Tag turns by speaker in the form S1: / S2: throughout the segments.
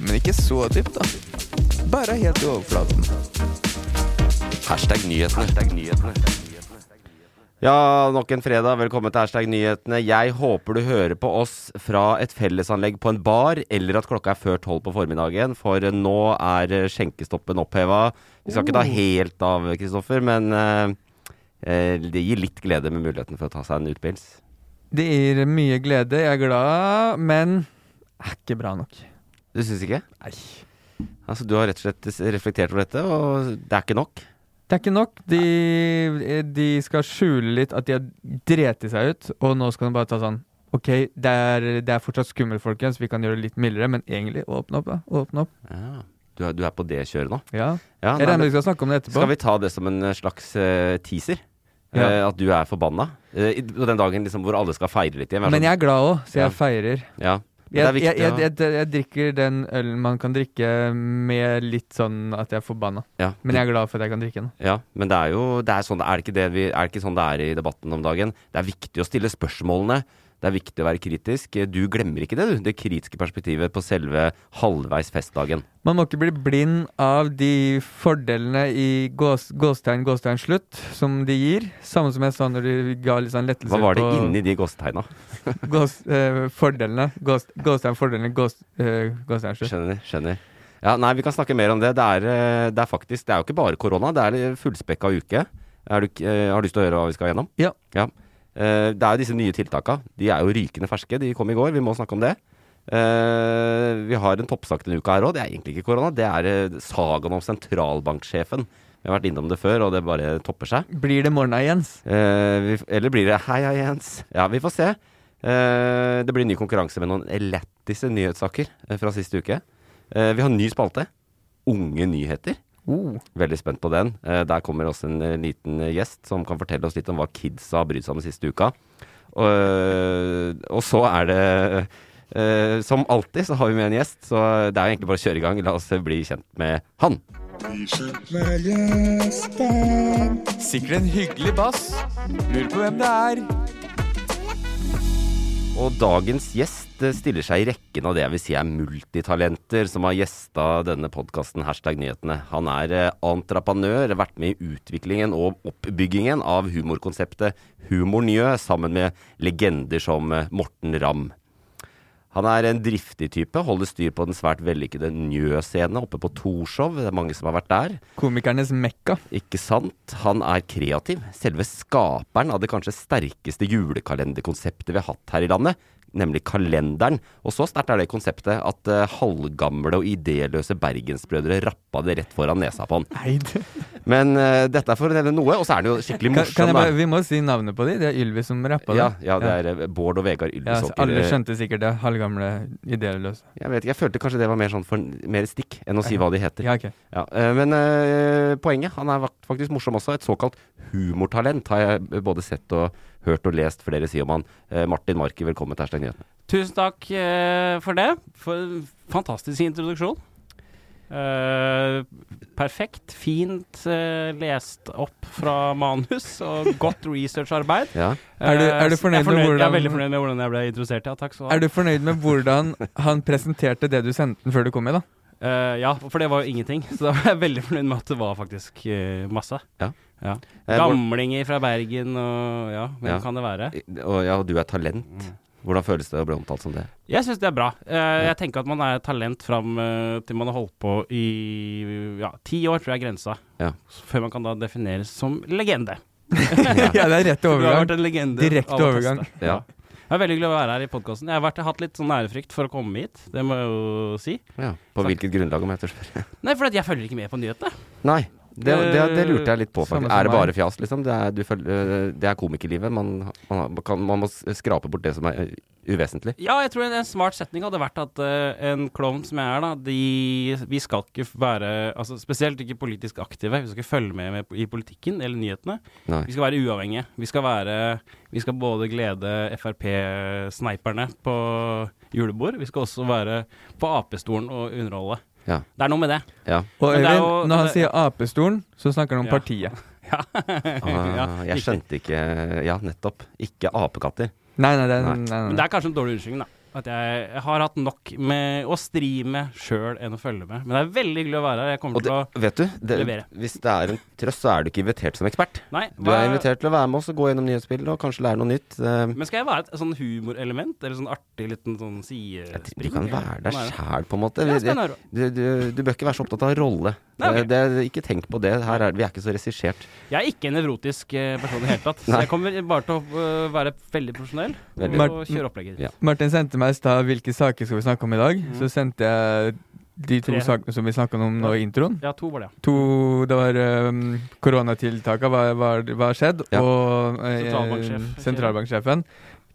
S1: Men ikke så dypt, da. Bare helt i overflaten.
S2: Hashtag nyhetene.
S3: Ja, nok en fredag. Velkommen til Hashtag nyhetene. Jeg håper du hører på oss fra et fellesanlegg på en bar, eller at klokka er før tolv på formiddagen, for nå er skjenkestoppen oppheva. Vi skal ikke
S4: Oh.
S3: ta helt av, Kristoffer, men eh, eh, det gir litt glede med muligheten for å ta seg en utpils.
S4: Det gir mye glede, jeg er glad, men er ikke bra nok.
S3: Du syns ikke?
S4: Nei.
S3: Altså, du har rett og slett reflektert over dette, og det er ikke nok.
S4: Det er ikke nok. De, de skal skjule litt at de har dreti seg ut, og nå skal de bare ta sånn Ok, det er, det er fortsatt skummelt, folkens, vi kan gjøre det litt mildere, men egentlig åpne opp, da. Åpne opp.
S3: Ja. Du, er, du er på det kjøret nå?
S4: Ja.
S3: Ja, nei,
S4: Jeg regner med
S3: men-
S4: vi skal snakke om det etterpå.
S3: Skal vi ta det som en slags eh, teaser?
S4: Ja.
S3: Eh, at du er forbanna? Eh, i- på den dagen liksom, hvor alle skal feire litt igjen? være
S4: Men
S3: sånn,
S4: jeg er glad òg, så
S3: Ja.
S4: jeg feirer.
S3: ja. Men det er
S4: Jeg,
S3: viktig
S4: jeg, jeg,
S3: å-
S4: jeg, jeg drikker den ølen man kan drikke med litt sånn at jeg er forbanna.
S3: ja.
S4: Men jeg er glad for at jeg kan drikke den.
S3: ja, men det er jo det er, sånn, er, det ikke det vi, er det ikke sånn det er i debatten om dagen? Det er viktig å stille spørsmålene. Det er viktig å være kritisk. Eh, Du glemmer ikke det, du. Det kritiske perspektivet på selve halvveis festdagen.
S4: Man må ikke bli blind av de fordelene i gås, gåstein, gåstein, slutt som de gir. Samme som jeg sa når de ga litt sånn lettelse
S3: Hva var det
S4: på
S3: inni de gåsetegna?
S4: gås, eh, fordelene. Gås, gåstein, fordelene, gås, eh, gåstein, slutt.
S3: Skjønner, skjønner. Ja, nei, vi kan snakke mer om det. Det er, eh, det er faktisk Det er jo ikke bare korona, det er en fullspekka uke. Er du, k- eh, har du lyst til å høre hva vi skal gjennom?
S4: Ja.
S3: Eh, det er jo disse nye tiltaka. De er jo rykende ferske. De kom i går. Vi må snakke om det. Eh, vi har en toppsak denne uka her òg. Det er egentlig ikke korona. Det er eh, sagaen om sentralbanksjefen. Vi har vært innom det før, og det bare topper seg.
S4: Blir det morgenen av Jens?
S3: Eh, vi, eller blir det Hei, hei, Jens. Ja, vi får se. Eh, det blir ny konkurranse med noen lættise nyhetssaker eh, fra siste uke. Eh, vi har ny spalte. Unge nyheter.
S4: Oh.
S3: Veldig spent på den. Eh, der kommer også en eh, liten eh, gjest som kan fortelle oss litt om hva kidsa har brydd seg om siste uka. Og, eh, og så er det eh, Som alltid så har vi med en gjest, så det er jo egentlig bare å kjøre i gang. La oss eh, bli kjent med han.
S4: Sikkert en hyggelig bass. Lurer på hvem det er.
S3: Og dagens gjest eh, stiller seg i rekken av det jeg vil si er multitalenter som har gjesta denne podkasten Hashtag nyhetene. Han er eh, entreprenør, vært med i utviklingen og oppbyggingen av humorkonseptet Humornjø sammen med legender som eh, Morten Ramm. Han er en driftig type, holder styr på den svært vellykkede Njø-scene oppe på Torshov. Det er mange som har vært der.
S4: Komikernes mekka.
S3: Ikke sant? Han er kreativ. Selve skaperen av det kanskje sterkeste julekalenderkonseptet vi har hatt her i landet, nemlig kalenderen. Og så sterkt er det konseptet at eh, halvgamle og idéløse bergensbrødre rappa det rett foran nesa på han.
S4: Nei, det-
S3: Men eh, dette er for å nevne noe, og så er han jo skikkelig
S4: kan, kan jeg
S3: morsom.
S4: bare,
S3: da.
S4: vi må si navnet på de. Det er Ylvis som rappa
S3: Ja,
S4: det.
S3: ja, det er eh, Bård og Vegard
S4: Ja, så
S3: Ylvisåker.
S4: alle skjønte sikkert det. Halvgamle, idéløse.
S3: Jeg vet ikke, jeg følte kanskje det var mer sånn for, mer et stikk enn å si hva de heter.
S4: Ja, ok.
S3: Ja, eh, men eh, poenget, han er vak- faktisk morsom også. Et såkalt humortalent har jeg både sett og hørt og lest flere si om han. Eh, Martin Marki, velkommen til Hashtag Nyhetene.
S5: Tusen takk eh, for det. For fantastisk introduksjon. Eh, perfekt, fint eh, lest opp fra manus og godt researcharbeid.
S3: Ja.
S4: Er du- er du
S5: Eh,
S4: fornøyd
S5: jeg
S4: med
S5: Jeg
S4: hvordan-
S5: er veldig fornøyd med hvordan jeg ble introdusert, ja. Takk skal du ha.
S4: Er du fornøyd med hvordan han presenterte det du sendte den før du kom med, da?
S5: Eh, ja, for det var jo ingenting. Så da var jeg veldig fornøyd med at det var faktisk eh, masse.
S3: Ja.
S5: Ja.
S3: Eh,
S5: Gamlinger fra Bergen og ja, hvem
S3: Ja.
S5: kan det være?
S3: Og ja, og du er talent. Hvordan føles det å bli omtalt som det?
S5: Jeg syns det er bra. Eh, Jeg tenker at man er et talent fram eh, til man har holdt på i ja, ti år, tror jeg er grensa.
S3: Ja.
S5: Før man kan da defineres som legende.
S4: ja, det er rett
S5: Du har vært
S4: overgang.
S5: en legende.
S4: Direkte
S5: av å
S4: overgang.
S5: teste.
S3: Ja.
S5: Det er veldig hyggelig å være her i podkasten. Jeg har vært, hatt litt sånn ærefrykt for å komme hit, det må jeg jo si.
S3: Ja. På hvilket grunnlag, om jeg tør spørre?
S5: Nei, for at jeg følger ikke med på nyhetene.
S3: Nei, det, det, det lurte jeg litt på, faktisk.
S4: Samme som
S3: Er det
S4: meg.
S3: bare fjas, liksom? Det er, du følger, det er komikerlivet. Man, man, har- kan, man må s- skrape bort det som er eh, uvesentlig.
S5: Ja, jeg tror en, en smart setning hadde vært at eh, en klovn som jeg er, da de, Vi skal ikke være altså, Spesielt ikke politisk aktive. Vi skal ikke følge med, med i politikken eller nyhetene.
S3: Nei.
S5: Vi skal være uavhengige. Vi skal, være, vi skal både glede Frp-sneiperne på julebord. Vi skal også være på apestolen og underholde.
S3: Ja.
S5: Det er noe med det.
S3: Ja.
S4: Og
S5: Men det er
S4: Øyvind,
S5: jo-
S4: når han
S5: det-
S4: sier apestolen, så snakker han om
S5: Ja.
S4: partiet.
S5: Ja. Ja,
S3: Ah, jeg
S5: riktig.
S3: skjønte ikke Ja, nettopp. Ikke apekatter.
S4: Nei, nei, det er,
S3: Nei.
S4: nei, nei,
S5: Men
S4: nei.
S5: det er kanskje en dårlig unnskyldning, da. At jeg, jeg har hatt nok med å stri med sjøl enn å følge med. Men det er veldig hyggelig å være her. Jeg
S3: Og
S5: kommer
S3: det,
S5: til å
S3: vet du, det,
S5: Levere.
S3: hvis det er en trøst, så er du ikke invitert som ekspert.
S5: Nei,
S3: Du er invitert til å være med oss og gå gjennom nyhetsbildet og kanskje lære noe nytt. Eh,
S5: Men skal jeg være et sånn humorelement? Eller sånn artig liten sånn
S3: Du
S5: sidespring?
S3: kan være deg
S5: Hva er det?
S3: sjæl, på en måte.
S5: Ja, spennende å høre.
S3: Du, du, du bør ikke være så opptatt av rolle.
S5: Nei, ok.
S3: Eh, det, ikke tenk på det. Her er, vi er ikke så regissert.
S5: Jeg er ikke en nevrotisk eh, person i det hele tatt. Så
S3: Nei.
S5: jeg kommer bare til å eh, være veldig profesjonell
S3: Veldig. Mm.
S5: og
S4: Martin-
S5: kjøre opplegget.
S3: Ja.
S4: Martin sendte meg i stad hvilke saker skal vi snakke om i dag. Så sendte jeg de to
S5: Mhm. Tre.
S4: sakene som vi snakka om nå i introen.
S5: Ja, to var det, ja.
S4: To, det var um, koronatiltaka, hva hva- hva har skjedd,
S3: Ja.
S4: og eh,
S5: Sentralbanksjef.
S4: sentralbanksjefen.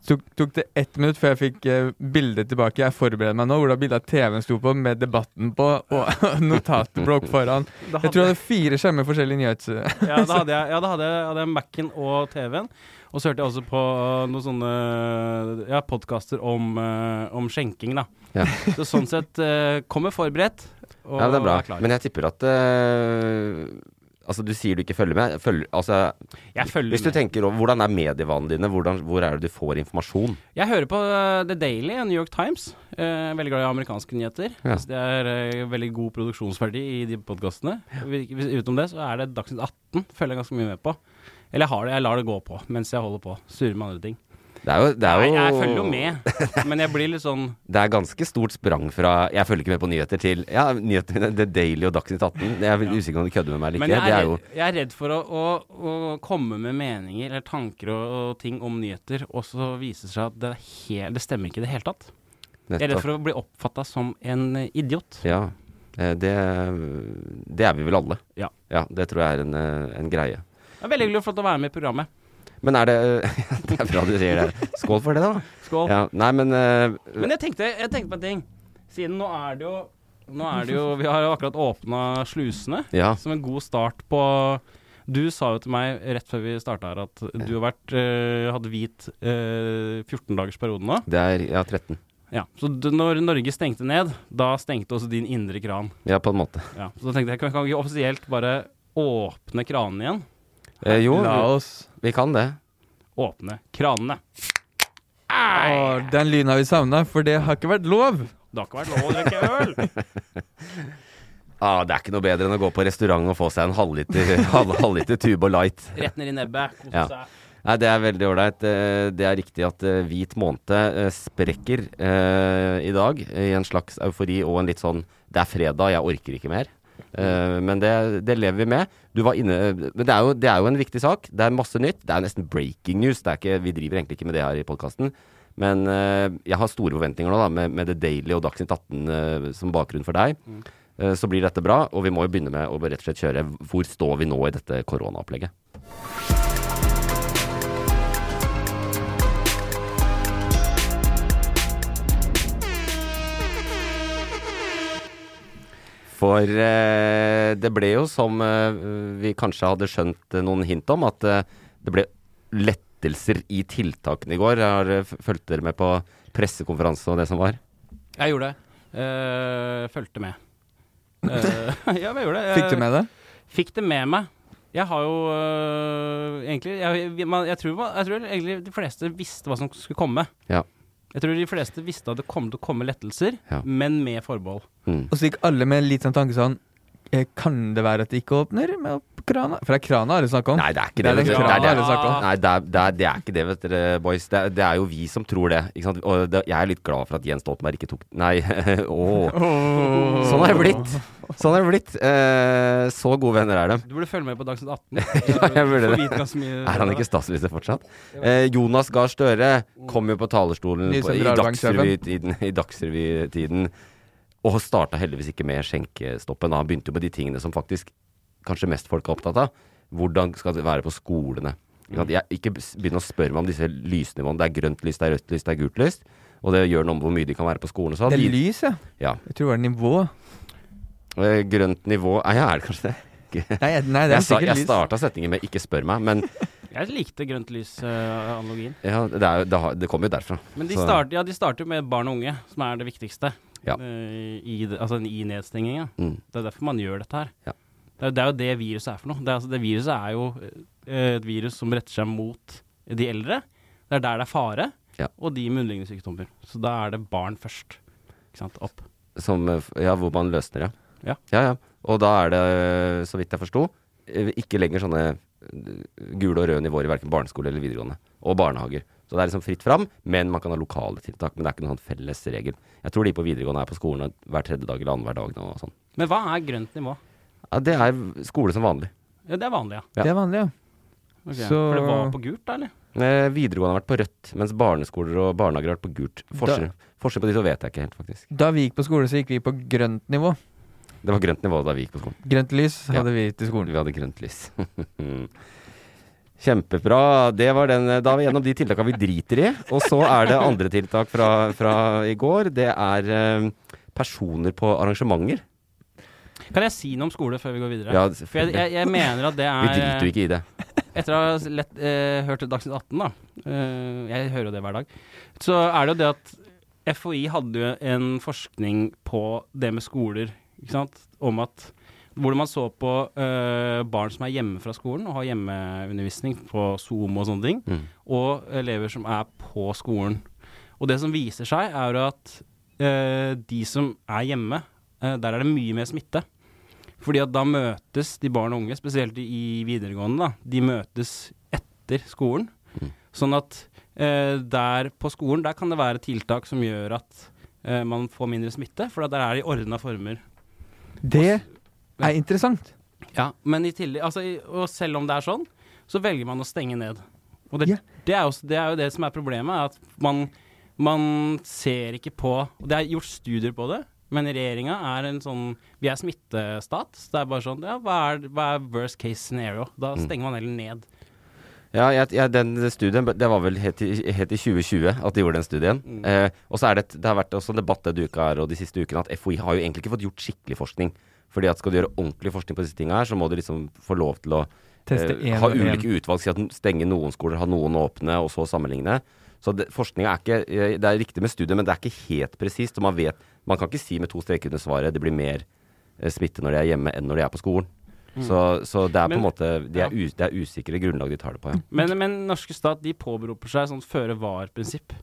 S4: Tok, tok det ett minutt før jeg fikk eh, bildet tilbake. Jeg forbereder meg nå, hvor da bildet av TV-en sto på med debatten på og notatblokk foran.
S5: Da
S4: Jeg tror jeg hadde fire skjermer forskjellige nyhets...
S5: ja, da hadde jeg, ja, da hadde jeg, hadde jeg Mac-en og TV-en. Og så hørte jeg også på eh, noen sånne ja, podkaster om, eh, om skjenking, da.
S3: Ja.
S5: Så sånn sett eh, kommer forberedt og
S3: Ja, det er bra.
S5: klar.
S3: Men jeg tipper at eh, Altså, du sier du ikke følger med. Følg, altså,
S5: jeg
S3: hvis
S5: følger
S3: du
S5: med.
S3: tenker over hvordan er medievanene dine, hvordan, hvor er det du får informasjon?
S5: Jeg hører på eh, The Daily og New York Times. Eh, veldig glad i amerikanske nyheter.
S3: Ja.
S5: Så det er eh, veldig god produksjonsverdi i de podkastene. Utenom det så er det Dagsnytt 18 følger jeg ganske mye med på. Eller jeg, har det, jeg lar det gå på mens jeg holder på. Surrer med andre ting.
S3: Det er jo, det er
S5: Nei,
S3: jo,
S5: jeg følger jo med, men jeg blir litt sånn
S3: Det er ganske stort sprang fra jeg følger ikke med på nyheter til ja, nyheter mine, The Daily og Dagsnytt 18. Jeg er vel usikker på om du kødder med meg eller
S5: Men
S3: ikke.
S5: jeg
S3: Det
S5: er,
S3: er jo
S5: jeg er redd for å, å, å komme med meninger eller tanker og, og ting om nyheter, og så viser det seg at det, er hel, det stemmer ikke i det hele tatt. Jeg er redd
S3: nettopp
S5: for å bli oppfatta som en eh, idiot.
S3: Ja. eh, Det, det er vi vel alle.
S5: Ja.
S3: Det tror jeg er en, eh, en greie.
S5: Det er veldig hyggelig å få lov til å være med i programmet.
S3: Men er det Det er bra du sier det. Skål for det, da.
S5: Skål.
S3: Ja, nei, men eh,
S5: Men jeg tenkte, jeg tenkte på en ting. Siden nå er det jo Nå er det jo Vi har jo akkurat åpna slusene.
S3: Ja.
S5: Som en god start på Du sa jo til meg rett før vi starta her at du har vært eh, Hadde hvit eh, 14-dagersperiode nå.
S3: Det er Ja, 13.
S5: Ja, Så d når Norge stengte ned, da stengte også din indre kran.
S3: Ja, på en måte.
S5: Ja, Så da tenkte jeg, kan kan vi ikke offisielt bare åpne kranen igjen?
S3: Eh, jo,
S4: La
S3: vi,
S4: oss.
S3: vi kan det.
S5: Åpne kranene.
S4: Å, den lyden har vi savna, for det har ikke vært lov.
S5: Det har ikke vært lov å drikke øl!
S3: Ah, det er ikke noe bedre enn å gå på restaurant og få seg en halvliter, halv, halvliter Tubo Light.
S5: Rett ned i nebbet. Kose
S3: Ja.
S5: seg.
S3: Nei, det er veldig ålreit. Eh, Det er riktig at eh, hvit måned eh, sprekker eh, i dag i en slags eufori og en litt sånn Det er fredag, jeg orker ikke mer. Eh, men det, det lever vi med. Du var inne Men det er, jo, det er jo en viktig sak. Det er masse nytt. Det er nesten breaking news. Det er ikke, vi driver egentlig ikke med det her i podkasten. Men eh, jeg har store forventninger nå da, med, med The Daily og Dagsnytt 18 eh, som bakgrunn for deg. Eh, så blir dette bra. Og vi må jo begynne med å bare rett og slett kjøre Hvor står vi nå i dette koronaopplegget? For eh, det ble jo som eh, vi kanskje hadde skjønt eh, noen hint om, at eh, det ble lettelser i tiltakene i går. Har, eh, f- fulgte dere med på pressekonferanse og det som var?
S5: Jeg gjorde det. Uh, Fulgte med. Eh, ja, men jeg gjorde det.
S4: Fikk du
S5: Jeg-
S4: med det?
S5: Fikk det med meg. Jeg har jo øh, egentlig jeg, vi- man, jeg, tror, man- jeg tror egentlig de fleste visste hva som skulle komme.
S3: Ja.
S5: Jeg tror de fleste visste at det kom til å komme lettelser,
S3: Ja.
S5: men med forbehold.
S3: Mm.
S4: Og så gikk alle med litt sånn tanke sånn eh, Kan det være at det ikke åpner med opp krana? For det er krana er det snakk om.
S3: Nei, det er ikke
S4: Det
S3: det.
S4: er den
S3: vet dere.
S4: kranen
S3: det, er
S4: alle
S3: det.
S4: snakker om.
S3: Nei, det, er, det, er, det er ikke det, vet dere, boys. Det er, det er jo vi som tror det. Ikke sant? Og det, jeg er litt glad for at Jens Stoltenberg ikke tok Nei, åh. Sånn er det blitt. Sånn er det blitt. Eh, så gode venner er de.
S5: Du burde følge med på Dagsnytt 18.
S3: jeg burde
S5: Få
S3: det.
S5: vite ganske mye
S3: Er han ikke statsminister fortsatt? Eh, Jonas Gahr Støre kom jo på talerstolen
S4: Ny
S3: på, i
S4: sentralbanksjefen.
S3: Dagsrevy-tiden- i Dagsrevy-tiden. og starta heldigvis ikke med skjenkestoppen. Han begynte jo med de tingene som faktisk kanskje mest folk er opptatt av. Hvordan skal det være på skolene? Ikke sant? Jeg, ikke begynn å spørre meg om disse lysnivåene. Det er grønt lys, det er rødt lys, det er gult lys. Og det gjør noe om hvor mye de kan være på skolen. og sånn.
S4: Det er
S3: De-
S4: lys, ja.
S3: Ja.
S4: Jeg tror det var nivå.
S3: Eh, Grønt nivå Nei, ja, er det kanskje det?
S4: Nei, jeg- nei det er
S3: Jeg, sa-
S4: sikkert
S3: jeg
S4: lys.
S3: starta setningen med 'ikke spør meg', men
S5: Jeg likte grønt lys-analogien.
S3: ja, det, er, jo- det, har- det kommer jo derfra.
S5: Men de,
S3: Så-
S5: start, ja, de starter jo med barn og unge, som er det viktigste.
S3: Ja.
S5: Eh, I, det- altså i nedstenginga.
S3: Mm.
S5: Det er derfor man gjør dette her.
S3: Ja.
S5: Det, er, det er jo det viruset er for noe. Det, er, altså, det viruset er jo eh, et virus som retter seg mot de eldre. Det er der det er fare,
S3: Ja.
S5: og de med underliggende sykdommer. Så da er det barn først. Ikke sant? Opp.
S3: Som, eh, f- ja, hvor man løsner,
S5: Ja.
S3: ja, ja. Og da er det, eh, så vidt jeg forsto, eh, ikke lenger sånne eh, gule og røde nivåer i verken barneskole eller videregående. Og barnehager. Så det er liksom fritt fram, men man kan ha lokale tiltak. Men det er ikke noen sånn felles regel. Jeg tror de på videregående er på skolen hver tredje dag eller annenhver dag nå og sånn.
S5: Men hva er grønt nivå?
S3: Ja, det er skole som vanlig.
S5: Ja, det er vanlig, ja.
S3: Ja.
S4: Det er vanlig, ja.
S5: Ok.
S4: Så-
S5: For det var på gult, da, eller?
S3: Eh, Videregående har vært på rødt, mens barneskoler og barnehager har vært på gult. Forskjell, forskjell på de to vet jeg ikke helt, faktisk.
S4: Da vi gikk på skole, så gikk vi på grønt nivå.
S3: Det var grønt nivå da vi gikk på skolen.
S4: Grønt lys
S3: Ja.
S4: hadde vi til skolen.
S3: Vi hadde grønt lys. Kjempebra. Det var den. eh, Da er vi gjennom de tiltakene vi driter i. Og så er det andre tiltak fra, fra i går. Det er eh, personer på arrangementer.
S5: Kan jeg si noe om skole før vi går videre?
S3: Ja,
S5: For jeg,
S3: selvfølgelig.
S5: jeg, jeg mener at det er
S3: Vi driter jo ikke i det.
S5: Etter å ha lett, eh, hørt Dagsnytt 18, da eh, Jeg hører jo det hver dag. Så er det jo det at FHI hadde jo en forskning på det med skoler, ikke sant. Om at Hvordan man så på eh, barn som er hjemme fra skolen og har hjemmeundervisning på Zoom og sånne ting,
S3: Mm.
S5: og elever som er på skolen. Og det som viser seg, er jo at eh, de som er hjemme, eh, der er det mye mer smitte. Fordi at da møtes de barn og unge, spesielt i videregående, da, de møtes etter skolen. Sånn at eh, der på skolen, der kan det være tiltak som gjør at eh, man får mindre smitte, for der er det i ordna former.
S4: Det er interessant.
S5: Ja, men i tillegg, altså, i- og selv om det er sånn, så velger man å stenge ned. Og det,
S4: Ja.
S5: det, er, jo, det er jo det som er problemet, er at man, man ser ikke på Og det er gjort studier på det, men regjeringa er en sånn Vi er smittestat, så det er bare sånn Ja, hva er, hva er worst case scenario? Da stenger man heller ned.
S3: Ja, jeg, jeg, den studien, det var vel helt i, helt i 2020 at de gjorde den studien.
S5: Mm.
S3: Eh, og så er det, et- det har vært også en debatt denne uka her og de siste ukene at FHI har jo egentlig ikke fått gjort skikkelig forskning. Fordi at skal du gjøre ordentlig forskning på disse tinga her, så må du liksom få lov til å
S4: Teste
S3: eh,
S4: en
S3: ha
S4: og en.
S3: ulike utvalg. Si at n- stenge noen skoler, ha noen åpne, og så sammenligne. Så det, forskninga er ikke eh, Det er riktig med studiet, men det er ikke helt presist. Og man vet Man kan ikke si med to streker under svaret det blir mer eh, smitte når de er hjemme enn når de er på skolen.
S4: Mm.
S3: Så, så det er på en
S5: Men-
S3: måte Det er,
S5: ja.
S3: us, det er usikre grunnlag de tar det på, ja.
S5: Men, men norske stat de påberoper seg sånn føre var-prinsipp.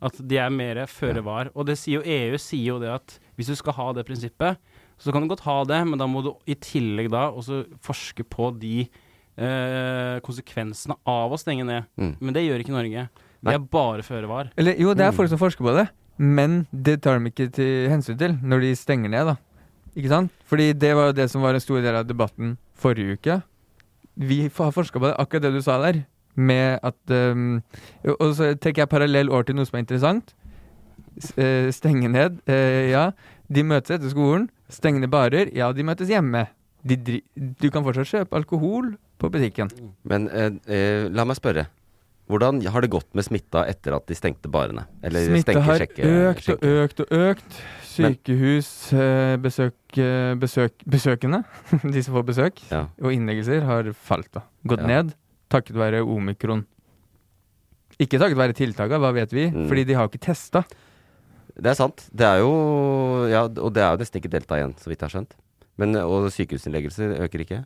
S5: At de er mer føre var. Og det sier jo EU sier jo det at hvis du skal ha det prinsippet, så kan du godt ha det, men da må du i tillegg da også forske på de eh, konsekvensene av å stenge ned.
S3: Mm.
S5: Men det gjør ikke Norge.
S3: Nei.
S5: Det er bare føre var.
S4: Eller jo, det er folk som forsker på det, men det tar de ikke til hensyn til når de stenger ned, da. Ikke sant? Fordi det var jo det som var en stor del av debatten forrige uke. Vi f- har forska på det, akkurat det du sa der, med at ehm, jo, Og så trekker jeg parallell år til noe som er interessant. S eh, stenge ned, eh, ja. De møtes etter skolen. Stenge ned barer, ja, de møtes hjemme. De dri du kan fortsatt kjøpe alkohol på butikken.
S3: Men eh, eh, la meg spørre. Hvordan har det gått med smitta etter at de stengte barene? Eller
S4: Smitte
S3: stenker
S4: har
S3: sjekke-
S4: økt og
S3: sjekke-
S4: økt og økt. Sykehus, eh, besøk, eh, besøk, besøkende, de som får besøk,
S3: Ja.
S4: og innleggelser har falt. da. Gått
S3: Ja.
S4: ned takket være omikron. Ikke takket være tiltaka, hva vet vi?
S3: Mm.
S4: Fordi de har ikke testa.
S3: Det er sant. Det er jo ja, Og det er jo nesten ikke delta igjen, så vidt jeg har skjønt. Men, og sykehusinnleggelser øker ikke?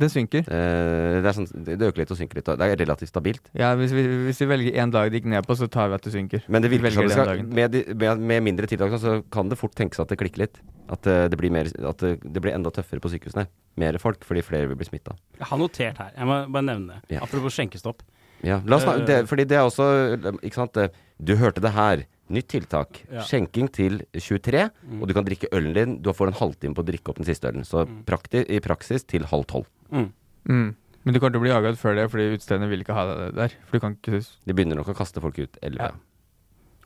S4: Det synker.
S3: Eh, det, er sånn, det det øker litt og synker litt. og Det er relativt stabilt.
S4: Ja, hvis, vi, hvis vi velger én dag det gikk ned på, så tar vi at det synker.
S3: Men det
S4: Vi
S3: virker som
S4: velger
S3: det
S4: den
S3: skal,
S4: dagen.
S3: med, de- med, med mindre tiltak nå, så kan det fort tenkes at det klikker litt. At, eh, det blir mer, at det, det blir enda tøffere på sykehusene. Mer folk fordi flere vil bli smitta.
S5: Jeg har notert her, jeg må bare nevne det.
S3: Ja.
S5: Apropos skjenkestopp.
S3: Ja, la oss snakke,
S5: Eh.
S3: det, fordi det er også eh, Ikke sant. eh, Du hørte det her. Nytt tiltak.
S5: Ja.
S3: Skjenking til 23.
S4: Mm.
S3: Og du kan drikke ølen din. Du får en halvtime på å drikke opp den siste ølen. Så prakti, i praksis til halv tolv.
S4: Mm. Men du kommer til å bli jaga ut før det, fordi utestedene vil ikke ha deg der. For du kan ikke
S3: De begynner nok å kaste folk ut elleve.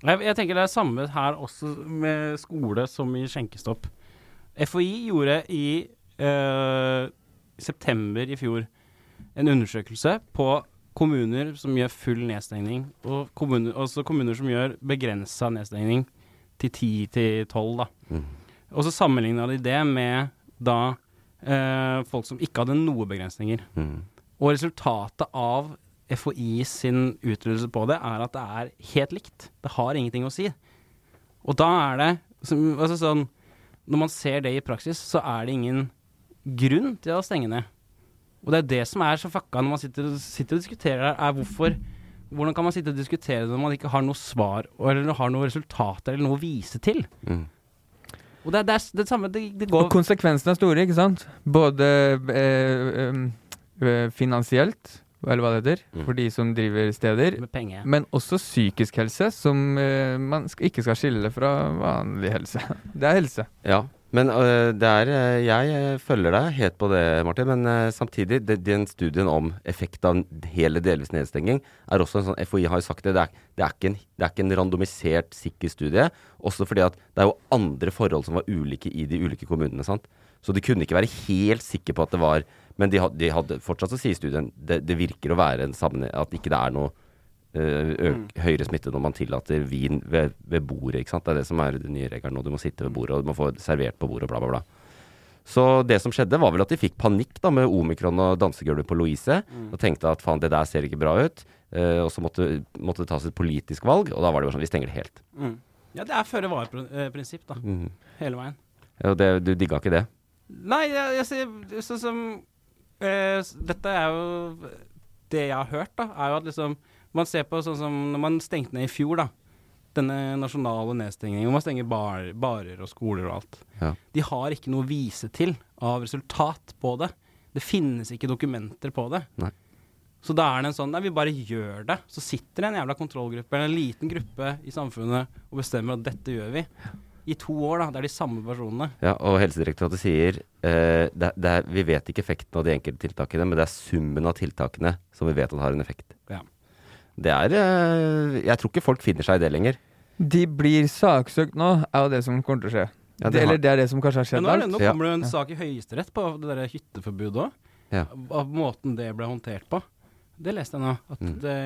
S5: Ja. Jeg, jeg tenker det er samme her også med skole som i skjenkestopp. FHI gjorde i eh, september i fjor en undersøkelse på kommuner som gjør full nedstengning, og kommuner, også kommuner som gjør begrensa nedstengning til 10 til 12, da.
S3: Mm.
S5: Og så sammenligna de det med da eh, folk som ikke hadde noe begrensninger.
S3: Mm.
S5: Og resultatet av FHI sin utryddelse på det, er at det er helt likt. Det har ingenting å si. Og da er det som- altså sånn Når man ser det i praksis, så er det ingen grunn til å stenge ned. Og det er det som er så fucka når man sitter, sitter og diskuterer her, er hvorfor Hvordan kan man sitte og diskutere det når man ikke har noe svar, eller har noe resultater eller noe å vise til?
S3: Mm.
S5: Og det er det, er s- det samme det, det går
S4: Og konsekvensene er store, ikke sant? Både eh, em, eh, finansielt, eller hva det heter,
S3: Mm.
S4: for de som driver steder.
S5: med penger.
S4: Men også psykisk helse, som eh, man sk ikke skal skille fra vanlig helse. Det er helse.
S3: Ja, men øh, det er øh, Jeg øh, følger deg helt på det, Martin. Men øh, samtidig, det, den studien om effekt av hele delvis nedstenging er også en sånn FHI har jo sagt det. Det er, det, er ikke en, det er ikke en randomisert, sikker studie. Også fordi at det er jo andre forhold som var ulike i de ulike kommunene. sant? Så de kunne ikke være helt sikre på at det var Men de, had, de hadde fortsatt så sier studien det, det virker å være en sammenheng At ikke det er noe øh, øk, høyere smitte når man tillater vin ved, ved bordet. ikke sant? Det er det som er den nye regelen nå. Du må sitte ved bordet, og du må få servert på bordet, og bla, bla, bla. Så det som skjedde, var vel at de fikk panikk da med omikron og dansegulvet på Louise. Og tenkte at faen, det der ser ikke bra ut. Eh, og så måtte, måtte det tas et politisk valg, og da var det jo sånn vi stenger det helt.
S5: Mm. Ja, det er føre var-prinsipp, da. Hele veien.
S3: Ja, og det, du digga ikke det?
S5: Nei, jeg, jeg sier det er sånn som eh, s- Dette er jo Det jeg har hørt, da, er jo at liksom Man ser på sånn som når man stengte ned i fjor, da. Denne nasjonale nedstengningen. hvor Man stenger bar, barer og skoler og alt.
S3: Ja.
S5: De har ikke noe å vise til av resultat på det. Det finnes ikke dokumenter på det.
S3: Nei.
S5: Så da er det en sånn Nei, vi bare gjør det. Så sitter det en jævla kontrollgruppe eller en liten gruppe i samfunnet og bestemmer at dette gjør vi. I to år, da. Det er de samme personene.
S3: Ja, og Helsedirektoratet sier eh, det, det er, vi vet ikke effekten av de enkelte tiltakene, men det er summen av tiltakene som vi vet at har en effekt.
S5: Ja.
S3: Det er eh, Jeg tror ikke folk finner seg i det lenger.
S4: De blir saksøkt nå, er jo det som kommer til å skje.
S3: Ja, det
S4: det,
S3: har-
S4: eller det er det som kanskje har
S5: Men
S4: skjedd
S5: nå, er det,
S4: alt.
S5: nå
S3: Ja.
S5: kommer det jo en sak i Høyesterett på det der hytteforbudet òg.
S3: Ja.
S5: Av måten det ble håndtert på. Det leste jeg nå. At
S3: Mm.
S5: det,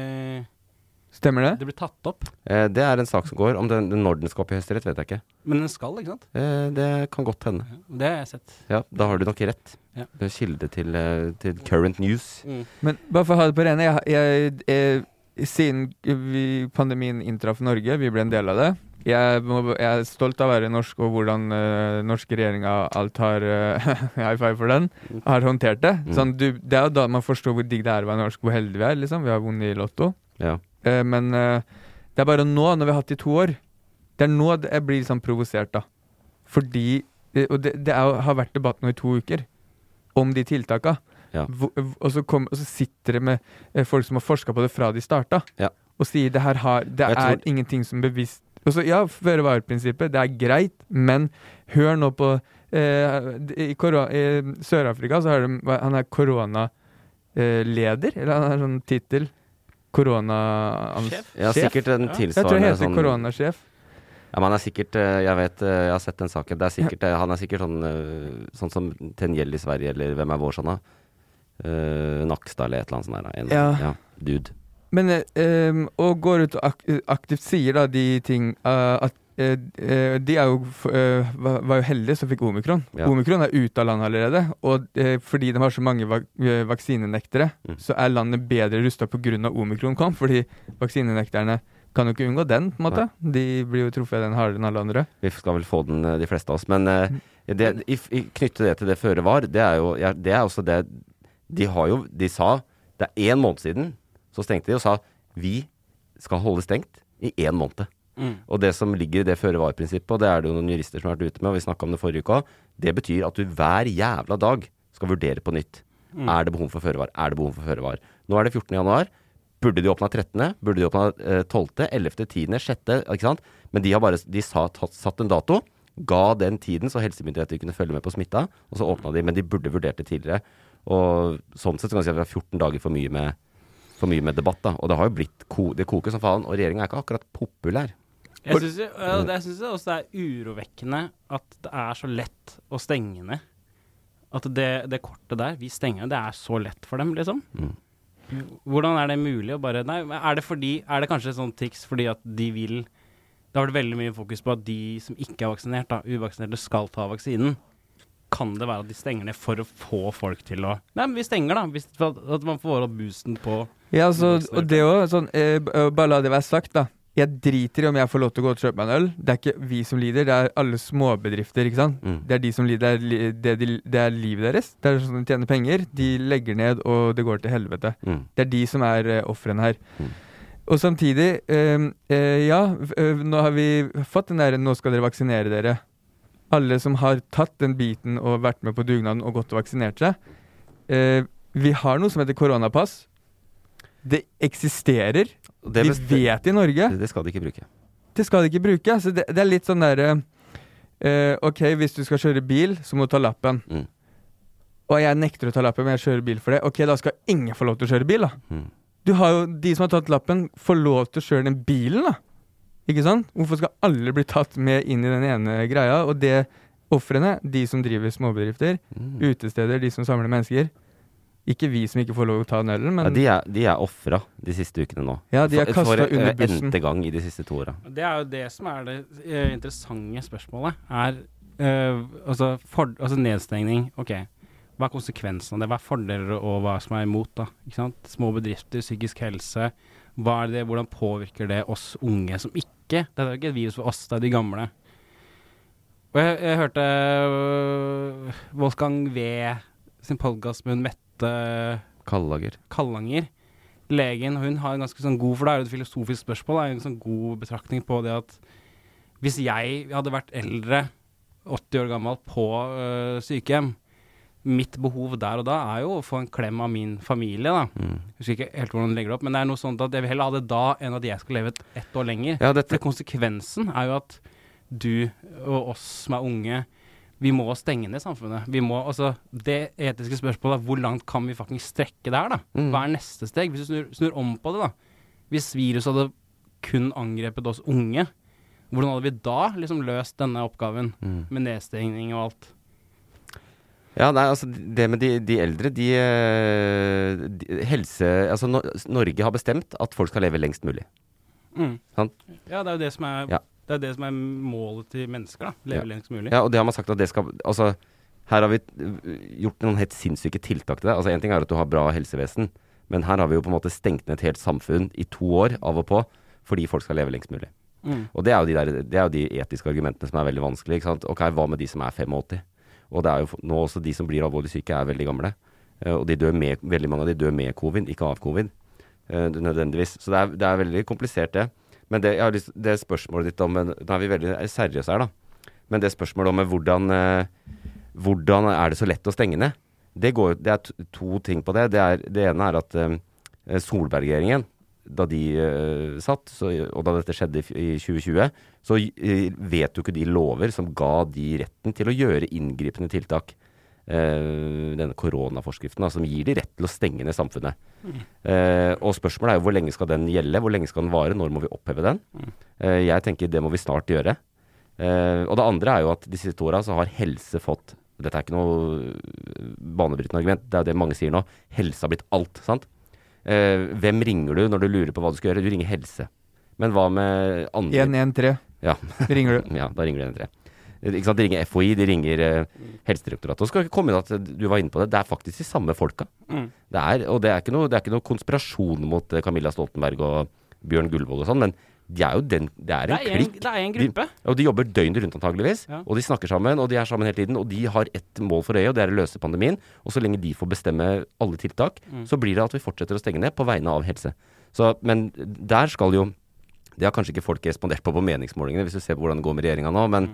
S4: Stemmer det?
S5: det ble tatt opp.
S3: Eh, det er en sak som går. Om den, den når den skal opp i Høyesterett, vet jeg ikke.
S5: Men den skal, ikke sant?
S3: Eh, det kan godt hende.
S5: Det har jeg sett.
S3: Ja, da har du nok rett.
S5: Ja.
S3: Du er kilde til, eh, til current news.
S4: Men bare for å ha det på rene, jeg, jeg, eh, siden vi, pandemien inntraff Norge, vi ble en del av det. Jeg, må, jeg er stolt av å være norsk og hvordan uh, norske regjeringa alt har eh, High five for den. Har håndtert det. Sånn, du, det er jo da man forstår hvor digg det er å være norsk, hvor heldige vi er. liksom. Vi har vunnet i Lotto.
S3: Ja.
S4: Eh, men eh, det er bare nå, når vi har hatt det i to år Det er nå det- jeg blir sånn provosert, da. Fordi eh, Og det, det er, jo- har vært debatt nå i to uker om de tiltaka.
S3: Ja.
S4: Hvor- eh, Og, så kom, og så sitter det med eh, folk som har forska på det fra de starta,
S3: Ja.
S4: og sier det her har Det
S3: Jeg tror-
S4: er ingenting som bevisst og så, Ja, føre-var-prinsippet, det er greit, men hør nå på eh, I, koro- i Sør-Afrika så har de hva- Han er koronaleder, eller han har sånn tittel. Korona...
S5: Sjef?
S3: Ja,
S4: Sjef?
S3: sikkert en
S5: Ja.
S4: Jeg tror
S3: tilsvarende
S4: jeg heter
S3: sånn
S4: koronasjef.
S3: Ja, men han er sikkert eh, Jeg vet, eh, jeg har sett den saken. Det er sikkert, eh, Han er sikkert sånn, eh, sånn som Tenjell i Sverige, eller hvem er vår sånn, da? Eh, Nakstad eller et eller annet sånt der. da. En,
S4: Ja.
S3: ja. Dude.
S4: Men eh, em, og går ut og ak aktivt sier da de ting eh, at eh, eh, de er jo, f- eh, va- var jo heldige som fikk omikron.
S3: Ja.
S4: Omikron er ute av landet allerede. Og eh, fordi de har så mange vak eh, vaksinenektere,
S3: Mm.
S4: så er landet bedre rusta pga. omikron kom. Fordi vaksinenekterne kan jo ikke unngå den, på en måte. De blir jo truffet av den hardere enn alle andre.
S3: Vi skal vel få den, eh, de fleste av oss. Men eh, det, i, i, knytte det til det føre var, det er jo jeg- Det er også det De har jo De sa Det er én måned siden, så stengte de og sa vi skal holde stengt i én måned. Og det som ligger i det føre-var-prinsippet, og det er det jo noen jurister som har vært ute med, og vi snakka om det forrige uka, det betyr at du hver jævla dag skal vurdere på nytt. Er det behov for føre-var? Er det behov for føre-var? Nå er det 14. januar. Burde de åpna 13., burde de åpna eh, 12., 11., 10., 6., ikke sant? Men de har bare de sa, tatt, satt en dato, ga den tiden så helsemyndigheter kunne følge med på smitta, og så åpna de. Men de burde vurdert det tidligere. Og sånn sett så kan man si at vi har 14 dager for mye med for mye med debatt, da. Og det har jo blitt ko Det koker som faen. Og regjeringa er ikke akkurat populær.
S5: Jeg syns jo- ja, det- jeg syns jo også det er urovekkende at det er så lett å stenge ned. At det, det kortet der, vi stenger ned, det er så lett for dem, liksom. Hvordan er det mulig å bare Nei, men er det fordi Er det kanskje et sånt triks fordi at de vil Det har vært veldig mye fokus på at de som ikke er vaksinert, da, uvaksinerte, skal ta vaksinen. Kan det være at de stenger ned for å få folk til å Nei, men vi stenger, da. Hvis, for at- at man får opp boosten på
S4: Ja, altså, og det òg. Sånn, eh, b- eh, bare la det være sagt, da. Jeg driter i om jeg får lov til å gå og kjøpe meg en øl. Det er ikke vi som lider, det er alle småbedrifter. ikke sant?
S3: Mm.
S4: Det er de som lider, det er, li- det, de, det er livet deres. Det er sånn de tjener penger. De legger ned, og det går til helvete.
S3: Mm.
S4: Det er de som er eh, ofrene her.
S3: Mm.
S4: Og samtidig, ehm, eh, ja, v- eh, nå har vi fått den derre 'nå skal dere vaksinere dere'. Alle som har tatt den biten og vært med på dugnaden og gått og vaksinert seg. Eh, vi har noe som heter koronapass. Det eksisterer.
S3: Og
S4: Vi
S3: Det, best-
S4: vet i Norge.
S3: det, det skal de ikke bruke.
S4: Det skal de ikke bruke. Så det, det er litt sånn derre eh, OK, hvis du skal kjøre bil, så må du ta lappen.
S3: Mm.
S4: Og jeg nekter å ta lappen, men jeg kjører bil for det. OK, da skal ingen få lov til å kjøre bil, da.
S3: Mm.
S4: Du har jo, De som har tatt lappen, får lov til å kjøre den bilen, da. Ikke sant? Hvorfor skal alle bli tatt med inn i den ene greia? Og det ofrene, de som driver småbedrifter,
S3: Mm.
S4: utesteder, de som samler mennesker Ikke vi som ikke får lov til å ta den ølen, men
S3: Ja, de er, de er ofra de siste ukene nå.
S4: Ja, de er
S3: For- for,
S4: kastet under
S3: eh,
S4: bussen.
S3: N-te gang i de siste to åra.
S5: Det er jo det som er det eh, interessante spørsmålet. Er eh, altså, for, altså nedstengning, ok. Hva er konsekvensen av det? Hva er fordeler og hva som er imot? da? Ikke sant? Små bedrifter, psykisk helse. Hva er det, hvordan påvirker det oss unge som ikke Dette er jo ikke et virus for oss, det er de gamle. Og jeg, jeg hørte øh, Wolfgang V sin podkast med hun Mette
S3: Kallager.
S5: Kallanger, legen, hun har en ganske sånn god For det er jo et filosofisk spørsmål, det er jo en sånn god betraktning på det at hvis jeg hadde vært eldre, 80 år gammel, på øh, sykehjem Mitt behov der og da er jo å få en klem av min familie, da. Husker ikke helt hvordan hun legger det opp, men det er noe sånt at jeg vil heller ha det da enn at jeg skal leve et- ett år lenger.
S3: Ja, dette,
S5: For konsekvensen er jo at du og oss som er unge, vi må stenge ned samfunnet. Vi må, altså, det etiske spørsmålet er hvor langt kan vi fucking strekke det her, da?
S3: Mm.
S5: Hva er neste steg? Hvis du snur, snur om på det, da. Hvis viruset hadde kun angrepet oss unge, hvordan hadde vi da liksom løst denne oppgaven
S3: Mm.
S5: med nedstengning og alt?
S3: Ja, nei, altså det med de, de eldre, de, eh, de Helse Altså no, Norge har bestemt at folk skal leve lengst mulig.
S5: Mm.
S3: Sant?
S5: Ja, det er jo det som er,
S3: Ja.
S5: det er, det som er målet til mennesker, da. Leve
S3: Ja.
S5: lengst mulig.
S3: Ja, og det har man sagt at det skal Altså, her har vi eh, gjort noen helt sinnssyke tiltak til det. Altså, én ting er at du har bra helsevesen, men her har vi jo på en måte stengt ned et helt samfunn i to år av og på fordi folk skal leve lengst mulig.
S5: Mm.
S3: Og det er, jo de der, det er jo de etiske argumentene som er veldig vanskelige. Ikke sant? Ok, hva med de som er 85? Og det er jo f- nå også de som blir alvorlig syke, er veldig gamle. Eh, Og de dør med, veldig mange av de dør med covid, ikke av covid. eh, Nødvendigvis. Så det er, det er veldig komplisert, det. Men det, jeg har lyst, det spørsmålet ditt om Nå er vi veldig seriøse her, da. Men det spørsmålet om hvordan, eh, hvordan er det så lett å stenge ned? Det, går, jo- det er to, to ting på det. Det, er, det ene er at eh, eh, Solberg-regjeringen, da de eh, satt, så, og da dette skjedde i, f- i 2020, så eh, vet jo ikke de lover som ga de retten til å gjøre inngripende tiltak. Eh, denne koronaforskriften da, som gir de rett til å stenge ned samfunnet. Eh, og spørsmålet er jo hvor lenge skal den gjelde, hvor lenge skal den vare, når må vi oppheve den? Eh, jeg tenker det må vi snart gjøre. Eh, og det andre er jo at de siste åra så har helse fått Dette er ikke noe øh, banebrytende argument, det er jo det mange sier nå. Helse har blitt alt, sant? Eh, hvem ringer du når du lurer på hva du skal gjøre? Du ringer helse. Men hva med andre
S4: 113
S3: Ja.
S4: ringer du.
S3: Ja, da ringer du 113. Eh, Ikke sant? De ringer FHI, de ringer eh, Helsedirektoratet. Og skal ikke komme inn at eh, du var inne på det, det er faktisk de samme folka. Det er, og det er, ikke noe, det er ikke noe konspirasjon mot eh, Camilla Stoltenberg og Bjørn Gullvåg og sånn, men de er jo den, det er
S5: Det
S3: en
S5: er en,
S3: klikk.
S5: det er en gruppe.
S3: Og de jobber døgnet rundt antageligvis,
S5: Ja.
S3: og de snakker sammen, og de er sammen hele tiden, og de har ett mål for øye, og det er å løse pandemien. Og så lenge de får bestemme alle tiltak,
S5: Mm.
S3: så blir det at vi fortsetter å stenge ned på vegne av helse. Så, men der skal jo Det har kanskje ikke folk respondert på på meningsmålingene, hvis du ser på hvordan det går med regjeringa nå,
S5: Mm.
S3: men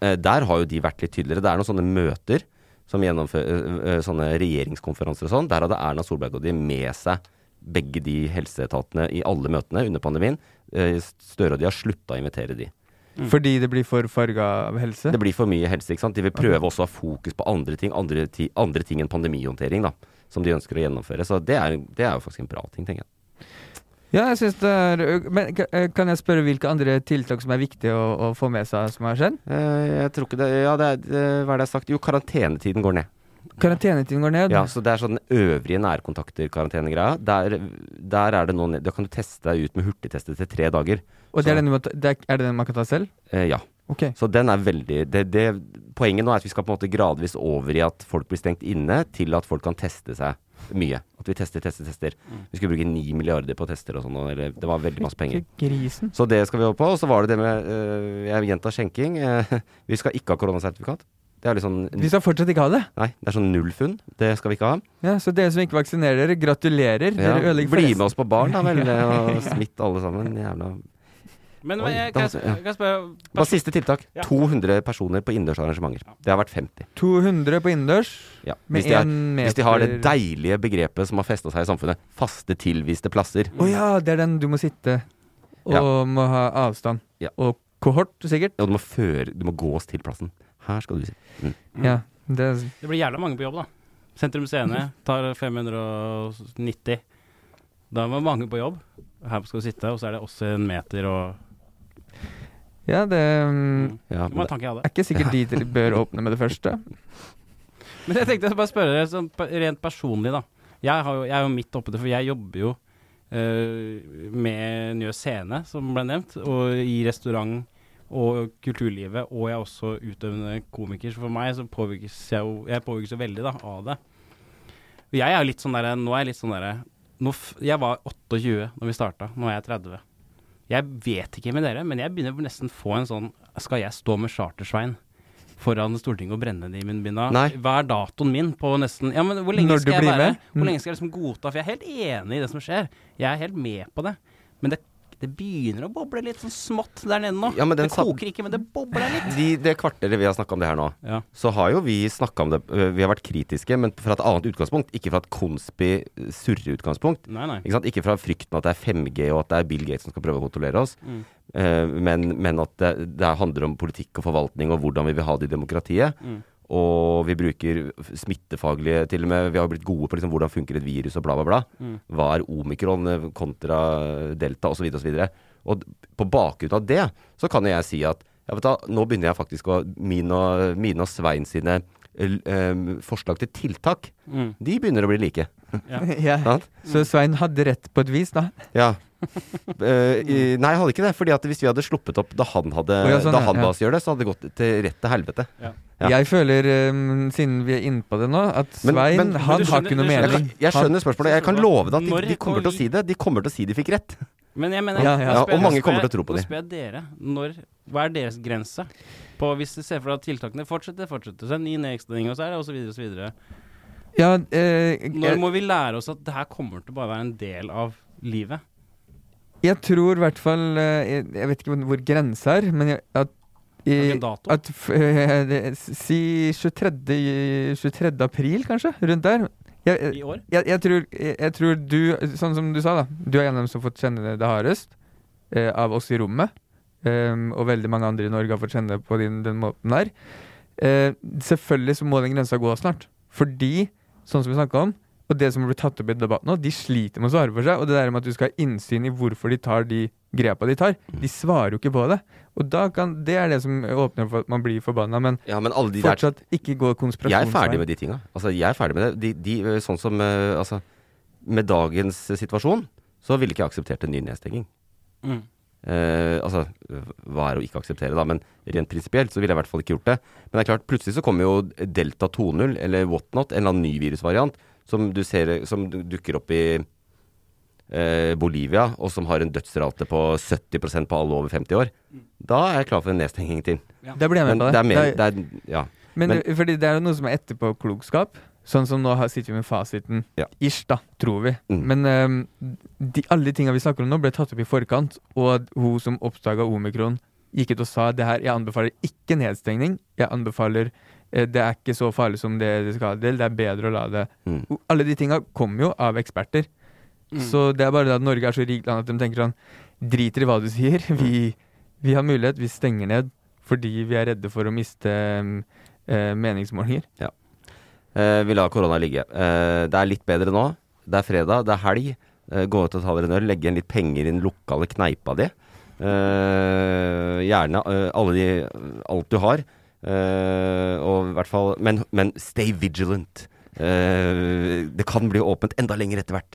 S3: eh, der har jo de vært litt tydeligere. Det er noen sånne møter som gjennomfører eh, eh, sånne regjeringskonferanser og sånn. Der hadde Erna Solberg og de med seg begge de helseetatene i alle møtene under pandemien. Eh, Støre og de har slutta å invitere de.
S4: Fordi det blir for farga av helse?
S3: Det blir for mye helse, ikke sant. De vil prøve også å ha fokus på andre ting, andre, ti, andre ting enn pandemihåndtering, da. Som de ønsker å gjennomføre. Så det er, det er jo faktisk en bra ting, tenker jeg.
S4: Ja, jeg synes det er Men k- eh, kan jeg spørre hvilke andre tiltak som er viktige å, å få med seg, som har skjedd?
S3: Eh, jeg tror ikke det Ja, det er, eh, hva er det jeg har sagt? Jo, karantenetiden går ned.
S4: Karantenetiden går ned.
S3: Ja, så det er sånn øvrige nærkontakter-karantenegreia. Der, der er det nå ned. Da kan du teste deg ut med hurtigtester til tre dager.
S4: og det er,
S3: så-
S4: den man, ta- det er, er det den man kan ta selv?
S3: Eh, ja.
S4: Ok.
S3: Så den er veldig det, det, Poenget nå er at vi skal på en måte gradvis over i at folk blir stengt inne, til at folk kan teste seg mye. At vi tester, tester, tester.
S4: Mm.
S3: Vi skulle bruke ni milliarder på tester og sånn, og- eller det var veldig masse penger.
S4: Ikke Grisen.
S3: Så det skal vi over på. Og så var det det med øh, Jeg gjentar skjenking. eh, vi skal ikke ha koronasertifikat. Det er litt sånn
S4: De skal fortsatt ikke ha det.
S3: Nei, det er sånn null funn. Det skal vi ikke ha.
S4: Ja, Så dere som ikke vaksinerer dere, gratulerer.
S3: Ja.
S4: Dere ødelegger for
S3: Bli med
S4: resten.
S3: oss på barn, da vel. Og smitt alle sammen. Jævla
S5: Men
S3: Oi,
S5: jeg,
S3: da-
S5: kan, jeg, sp-
S3: ja.
S5: kan jeg spørre
S3: Bare siste tiltak.
S5: Ja.
S3: 200 personer på innendørs arrangementer. Det har vært 50.
S4: 200 på innendørs.
S3: Ja.
S4: Med
S3: Hvis, de har,
S4: en
S3: hvis de har det
S4: meter-
S3: deilige begrepet som har festa seg i samfunnet, faste tilviste plasser.
S4: Å ja, det er den du må sitte og
S3: Ja.
S4: må ha avstand.
S3: Ja.
S4: Og kohort, sikkert.
S3: Og du må, føre, du må gås til plassen. Her skal du si. Mm.
S4: Ja. Det,
S5: Det blir jævla mange på jobb, da. Sentrum Scene tar 590. Da var mange på jobb. Her skal du sitte, og så er det også en meter og
S4: ja, det mm,
S3: Ja,
S5: Det var
S3: men
S5: en tanke jeg
S4: er
S5: hadde.
S4: ikke sikkert de til- bør åpne med det første.
S5: Men jeg tenkte jeg skulle bare spørre dere sånn pe- rent personlig, da. Jeg, har jo, jeg er jo midt oppi det, for jeg jobber jo eh, med Njø Scene, som ble nevnt, og i restaurant og kulturlivet, og jeg er også utøvende komiker, så for meg så påvirkes jeg jo Jeg påvirkes jo veldig da, av det. Og Jeg er jo litt sånn derre Nå er jeg litt sånn derre nå f- Jeg var 28 når vi starta, nå er jeg 30. Jeg vet ikke med dere, men jeg begynner nesten få en sånn Skal jeg stå med Chartersvein foran Stortinget og brenne det i min binda?
S3: Nei.
S5: Hva er datoen min på nesten Ja, men hvor lenge
S4: Når du
S5: skal jeg
S4: blir
S5: være?
S4: med?
S5: Hvor lenge skal jeg liksom godta? For jeg er helt enig i det som skjer. Jeg er helt med på det. Men det, det begynner å boble litt sånn smått der nede nå.
S3: Ja, men den
S5: det
S3: sam-
S5: koker ikke, men det bobler litt.
S3: de, det kvarteret vi har snakka om det her nå,
S5: Ja.
S3: så har jo vi snakka om det øh, Vi har vært kritiske, men fra et annet utgangspunkt. Ikke fra et konspi-surre-utgangspunkt.
S5: Nei, nei.
S3: Ikke sant? Ikke fra frykten at det er 5G og at det er Bill Gates som skal prøve å kontrollere oss, Eh, men, men at det, det handler om politikk og forvaltning og hvordan vi vil ha det i demokratiet. Og vi bruker smittefaglige til og med Vi har jo blitt gode på liksom hvordan funker et virus og bla, bla, bla. Hva er omikron eh, kontra delta osv. osv. Og d- på bakgrunn av det så kan jo jeg si at ja, vet du, hva, nå begynner jeg faktisk å Mine og, mine og Svein sine l- eh, forslag til tiltak,
S5: Mm.
S3: de begynner å bli like.
S4: ja.
S3: Sant?
S4: Så Svein hadde rett på et vis, da.
S3: Ja. Eh, i, nei, jeg hadde ikke det. Fordi at hvis vi hadde sluppet opp da han hadde
S4: Å, ja, sånn,
S3: Da
S4: ja,
S3: han
S4: ja.
S3: ba oss gjøre det, så hadde det gått til rett til helvete. Ja.
S4: Jeg føler, um, siden vi er inne på det nå, at
S3: Men-
S4: Svein
S3: men- men
S4: han
S5: du
S4: har
S5: skjønner-
S4: ikke noe
S5: du skjønner-
S3: Jeg,
S4: mening.
S3: kan- jeg skjønner spørsmålet. Jeg kan love deg at
S5: Når
S3: de, de kommer til å
S5: kommer
S3: si det. De kommer til å si de fikk rett.
S5: Men jeg mener
S4: Ja, ja.
S5: nå
S4: Ja,
S5: spør jeg-
S3: og mange
S5: nå spør
S3: kommer til
S5: jeg-
S3: å tro på
S5: Nå
S3: det.
S5: spør jeg dere, når, hva er deres grense? På hvis du ser for deg at tiltakene fortsetter, fortsetter, så er det ny nedstengning og så er det og så videre, og så videre.
S4: Ja, eh,
S5: Når må vi lære oss at det her kommer til å bare være en del av livet?
S4: Jeg tror i hvert fall eh, Jeg jeg vet ikke hvor- hvor grensa er, men jeg, at
S5: Har vi
S4: i,
S5: en dato?
S4: at, f- eh, det- Si 23. 23. april, kanskje? Rundt der. Jeg, eh,
S5: I år?
S4: jeg, jeg, tror, jeg, jeg tror du Sånn som du sa, da. Du er en av dem som har fått kjenne det, det hardest eh, av oss i rommet. Ehm, og veldig mange andre i Norge har fått kjenne det på den, den måten der. Eh, selvfølgelig så må den grensa gå snart. Fordi, sånn som vi snakka om, og det som blir tatt opp i debatten nå, de sliter med å svare for seg. Og det der med at du skal ha innsyn i hvorfor de tar de grepa de tar,
S3: Mm.
S4: de svarer jo ikke på det. Og da kan, det er det som åpner for at man blir forbanna, men
S3: Ja, men alle de der
S4: fortsatt ikke gå
S3: Jeg er ferdig med
S4: konspirasjonsveien.
S3: de tinga. Altså, jeg er ferdig med det. De, de, øh, sånn som øh, Altså, med dagens eh, situasjon så ville ikke jeg akseptert en ny nedstenging.
S5: Mm.
S3: Eh, altså, øh, hva er å ikke akseptere, da? Men rent prinsipielt så ville jeg i hvert fall ikke gjort det. Men det er klart, plutselig så kommer jo Delta 2.0 eller whatnot, en eller annen ny virusvariant, som du ser eh, Som du- dukker opp i eh, eh, Bolivia, og som har en dødsrate på 70 på alle over 50 år, da er jeg klar for en nedstenging til.
S4: Da blir jeg med
S3: Men
S4: på
S3: det er mer
S4: det
S3: det er, Ja.
S4: Men,
S3: Men-
S4: det- fordi det er jo noe som er etterpåklokskap. Sånn som nå har, sitter vi med fasiten.
S3: Ja.
S4: Ish, da, tror vi.
S3: Mm.
S4: Men ehm, de, alle de tinga vi snakker om nå, ble tatt opp i forkant. Og at hun som oppdaga omikron, gikk ut og sa det her, jeg anbefaler ikke nedstengning. Jeg anbefaler eh, det er ikke så farlig som det det skal til. Det er bedre å la det
S3: Mm.
S4: Og Alle de tinga kommer jo av eksperter. Så det er bare det at Norge er så rikt land at de tenker sånn Driter i hva du sier. Vi, vi har mulighet. Vi stenger ned fordi vi er redde for å miste mm, eh, meningsmålinger.
S3: Eh, vi lar korona ligge. Eh, det er litt bedre nå. Det er fredag, det er helg. Eh, gå ut og ta dere en øl, legge igjen litt penger i den lokale kneipa di. Eh, gjerne eh, alle de, alt du har. Eh, og i hvert fall Men, men stay vigilant. Eh, det kan bli åpent enda lenger etter hvert.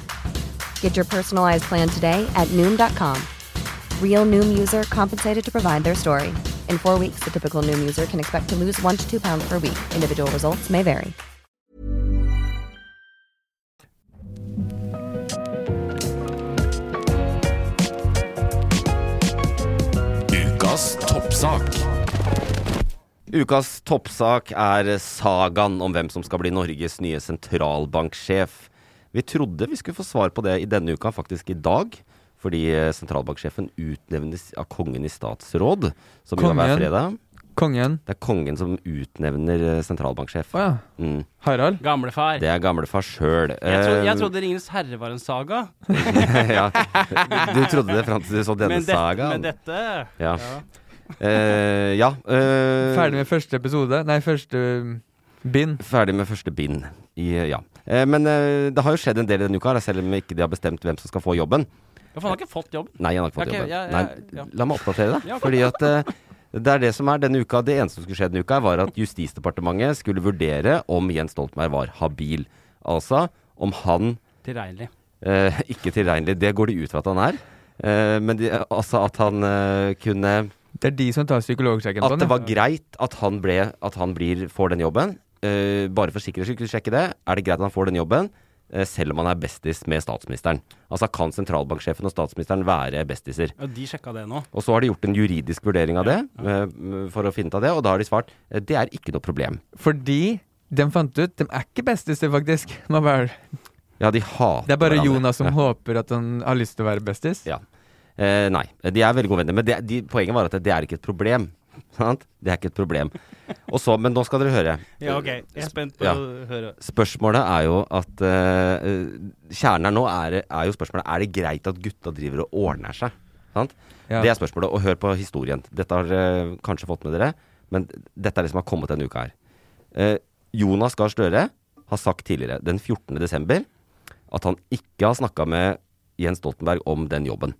S6: Get your personalized plan today at Noom.com. Real Noom user compensated to provide their story. In four weeks, the typical Noom user can expect to lose one to two pounds per week. Individual results may vary.
S2: Ukas toppsak.
S3: Ukas toppsak er sagaen om hvem som skal bli Norges nye sentralbanksjef. Vi trodde vi skulle få svar på det i denne uka, faktisk i dag. Fordi eh, sentralbanksjefen utnevnes av kongen i statsråd, som gjør hver
S4: Kongen?
S3: fredag.
S4: Kongen.
S3: Det er kongen som utnevner eh, sentralbanksjef.
S4: Å ja.
S3: Mm.
S4: Harald?
S5: Gamlefar.
S3: Det er gamlefar sjøl.
S5: Jeg, tro, jeg trodde Ringenes herre var en saga,
S3: Eh, ja. Du trodde det fram til du så denne
S5: men, det, men
S3: sagaen.
S5: dette
S3: Ja. Eh, ja eh,
S4: Ferdig med første episode? Nei, første um, bind.
S3: Ferdig med første bind. I, ja. Eh, men eh, det har jo skjedd en del i denne uka, da, selv om ikke de har bestemt hvem som skal få jobben.
S5: Hvorfor har han ikke fått jobben?
S3: Nei, han har ikke fått
S5: Ok,
S3: jobben.
S5: ja, ja,
S3: Nei,
S5: ja.
S3: La meg oppdatere deg.
S5: Ja, ok.
S3: Fordi at eh, det er det som er denne uka. Det eneste som skulle skje denne uka, var at Justisdepartementet skulle vurdere om Jens Stoltenberg var habil. Altså om han
S5: Tilregnelig.
S3: Eh, ikke tilregnelig, det går de ut fra at han er. Eh, men de, altså at han eh, kunne
S4: Det er de som tar psykologsjekken på
S3: At det
S4: den.
S3: var greit at han, ble, at han blir, får den jobben, eh, bare for sikkerhets skyld sjekke det, er det greit at han får den jobben, eh, selv om han er bestis med statsministeren. Altså kan sentralbanksjefen og statsministeren være bestiser.
S5: Ja, de sjekka det nå.
S3: Og så har de gjort en juridisk vurdering av det, eh, for å finne ut av det, og da har de svart eh, det er ikke noe problem.
S4: Fordi de fant ut De er ikke bestiser, faktisk. Man bare,
S3: Ja, de hater
S4: det er bare
S3: hverandre.
S4: Jonas som
S3: Ja.
S4: håper at han har lyst til å være bestis.
S3: Ja. Eh, nei, de er veldig gode venner. Men det, de, poenget var at det er ikke et problem. Sant? Det er ikke et problem. Og så, men nå skal dere høre.
S5: Ja, ok. Jeg er spent på å høre.
S3: Spørsmålet er jo at eh, eh, Kjernen her nå er, er jo spørsmålet Er det greit at gutta driver og ordner seg. Sant?
S4: Ja.
S3: Det er spørsmålet. Og hør på historien. Dette har dere kanskje fått med dere, men dette er det som har kommet denne uka her. Eh, Jonas Gahr Støre har sagt tidligere, den 14. desember, at han ikke har snakka med Jens Stoltenberg om den jobben.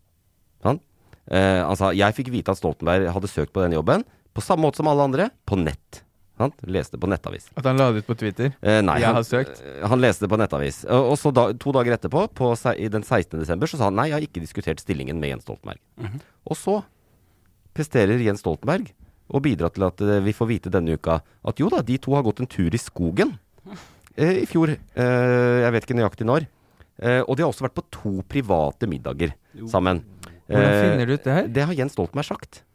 S3: Sant? Eh, han sa jeg fikk vite at Stoltenberg hadde søkt på den jobben på samme måte som alle andre, på nett. Sant? Leste på nettavis.
S4: At han la det ut på Twitter.
S3: Eh, nei,
S4: Jeg
S3: han,
S4: har søkt.
S3: eh, han leste det på nettavis. Og, og så da, to dager etterpå, på, se- i den 16. desember, så sa han nei, jeg har ikke diskutert stillingen med Jens Stoltenberg.
S7: Mhm.
S3: Og så presterer Jens Stoltenberg og bidrar til at eh, vi får vite denne uka at jo da, de to har gått en tur i skogen eh, i fjor. Eh, jeg vet ikke nøyaktig når. Eh, og de har også vært på to private middager sammen.
S4: Hvordan finner
S3: du ut det her? Det har Jens Stoltenberg sagt. eh,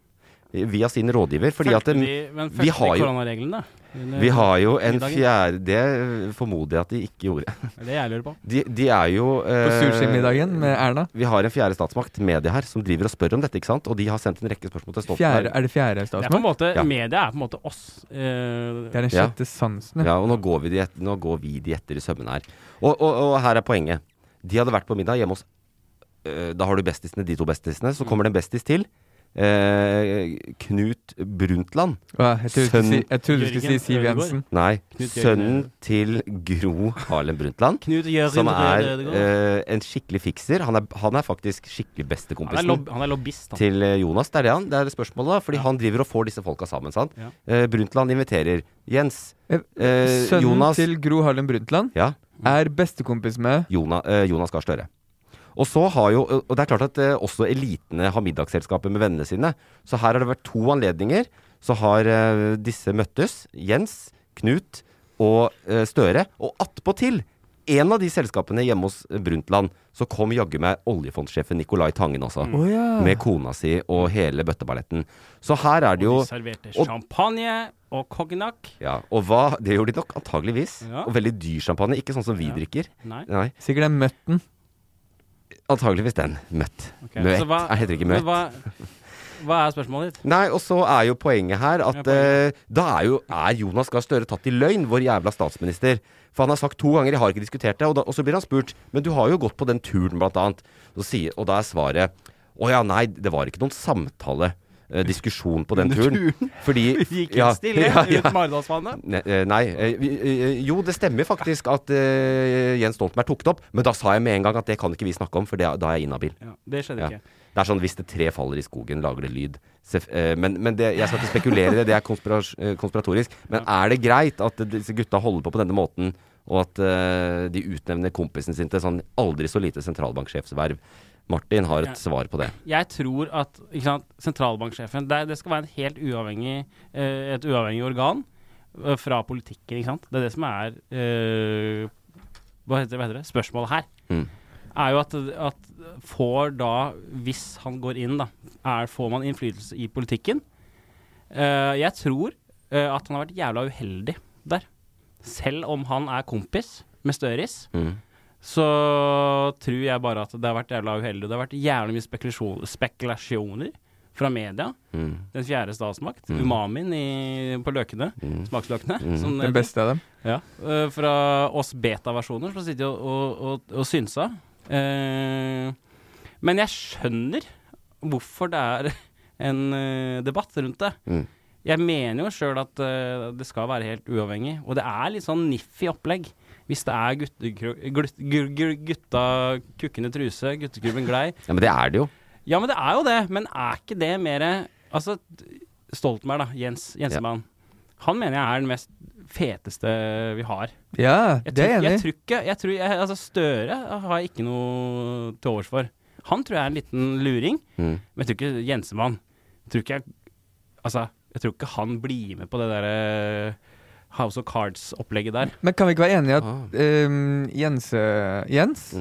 S3: Via sin rådgiver. Fordi at
S5: Følte
S3: eh,
S5: de, men følte de koronareglene, eh, da? Eller-
S3: vi har jo en
S5: middagen?
S3: fjerde Det formoder jeg at de ikke gjorde.
S5: Det er det jeg lurer på.
S3: De, de er jo eh,
S4: På sushimiddagen med Erna?
S3: Vi har en fjerde statsmakt, media her, som driver og spør om dette, ikke sant? Og de har sendt en rekke spørsmål til Stoltenberg.
S4: Fjerde, er det fjerde
S5: Det er på en
S4: statsmann?
S5: måte,
S3: Ja.
S5: Media er på en måte oss. Eh,
S4: Det er den
S3: Ja.
S4: sjette sansen.
S3: Ja, og nå går vi de etter, nå går vi de etter i sømmene her. Og, og, og her er poenget. De hadde vært på middag hjemme hos eh, Da har du bestisene, de to bestisene. Så kommer det en bestis til. eh, Knut Brundtland.
S4: Åh, jeg trodde du skulle si- jeg trodde du skulle si
S3: Jørgen
S4: Siv
S3: Ødegaard.
S4: Jensen.
S3: Nei.
S4: Knut Jørgen
S3: Sønnen til Gro Harlem Brundtland.
S5: Knut Jørgen
S3: som er
S5: Ødegaard.
S3: eh, en skikkelig fikser. Han er, han er faktisk skikkelig bestekompisen.
S5: Han er lob- han er lobbyist, han.
S3: Til eh, Jonas. Det er det han. Det er det spørsmålet, da. Fordi han driver og får disse folka sammen, sant.
S5: Ja.
S3: Eh, Brundtland inviterer. Jens. eh,
S4: Sønnen
S3: Jonas
S4: til Gro Harlem Brundtland
S3: Ja.
S4: er bestekompis med
S3: Jonas, eh, Jonas Gahr Støre. Og så har jo, og det er klart at eh, også elitene har middagsselskaper med vennene sine. Så her har det vært to anledninger. Så har eh, disse møttes. Jens, Knut og eh, Støre. Og attpåtil, en av de selskapene hjemme hos eh, Brundtland, så kom jaggu meg oljefondsjefen Nicolai Tangen også.
S5: Mm. Å ja.
S3: Med kona si og hele bøtteballetten. Så her er det jo
S5: De serverte champagne og cognac.
S3: ja, og hva, det gjorde de nok, antageligvis.
S5: Ja.
S3: Og veldig dyr champagne, ikke sånn som vi drikker.
S5: Nei.
S4: Sikkert den møtten.
S3: Antageligvis den. Møtt.
S5: Ok,
S3: Møtt.
S5: så hva-
S3: Jeg heter ikke
S5: men
S3: møtt.
S5: Hva, hva er spørsmålet ditt?
S3: Nei, og så er jo poenget her at eh, da er jo er Jonas Gahr Støre tatt i løgn, vår jævla statsminister. For han har sagt to ganger 'jeg har ikke diskutert det', og, da, og så blir han spurt 'men du har jo gått på den turen', blant annet. Så sier, og da er svaret 'å ja, nei, det var ikke noen samtale'. eh, diskusjon på den
S5: Under
S3: turen.
S5: turen.
S3: Fordi
S5: Vi gikk helt stille ut Maridalsvannet.
S3: Ne- eh, Nei. eh, vi- eh, Jo, det stemmer faktisk at eh, Jens Stoltenberg tok det opp, men da sa jeg med en gang at det kan ikke vi snakke om, for det, da er jeg inhabil.
S5: det skjedde ikke.
S3: Det er sånn hvis det tre faller i skogen, lager det lyd. Sef- eh, Men, men det, jeg skal ikke spekulere i det, det er konspiras eh, konspiratorisk. Men er det greit at disse gutta holder på på denne måten, og at eh, de utnevner kompisen sin til sånn aldri så lite sentralbanksjefsverv? Martin har
S5: Ja.
S3: et svar på det.
S5: Jeg tror at ikke sant, sentralbanksjefen det, er- det skal være en helt uavhengig, eh, et uavhengig organ eh, fra politikken. ikke sant? Det er det som er eh, hva, heter, hva heter det? Spørsmålet her.
S3: Mm.
S5: Er jo at, at får da, hvis han går inn, da, er, får man innflytelse i politikken? Eh, jeg tror eh, at han har vært jævla uheldig der. Selv om han er kompis med Støris
S3: Mm.
S5: så tror jeg bare at det har vært jævla uheldig. Det har vært jævlig mye spekulasjon, spekulasjoner fra media.
S3: Mm.
S5: Den fjerde statsmakt,
S4: Mm.
S5: umamien i, på løkene, smaksløkene.
S4: Mm.
S5: som
S4: Den
S5: det heter.
S4: beste av dem.
S5: Ja. eh, fra oss beta-versjoner som sitter og, og, og, og synsa. Eh, men jeg skjønner hvorfor det er en eh, debatt rundt det.
S3: Mm.
S5: Jeg mener jo sjøl at eh, det skal være helt uavhengig, og det er litt sånn niffy opplegg. Hvis det er guttekro- glut- gu- gu- gutta kukkende truse, guttekrubben glei.
S3: Ja, men det er det jo.
S5: Ja, men det er jo det. Men er ikke det mer Altså, Stoltenberg, da. Jens Jensemann. Han mener jeg er den mest feteste vi har.
S4: Ja, det er jeg
S5: jeg
S4: enig i.
S5: tror ikke jeg tror, jeg, altså Støre har jeg ikke noe til overs for. Han tror jeg er en liten luring,
S3: Mm.
S5: men jeg tror ikke Jensemann jeg tror ikke jeg, altså, jeg tror ikke han blir med på det derre House of Cards-opplegget der.
S4: Men kan vi ikke være enige i at ehm, Jens, eh, Jens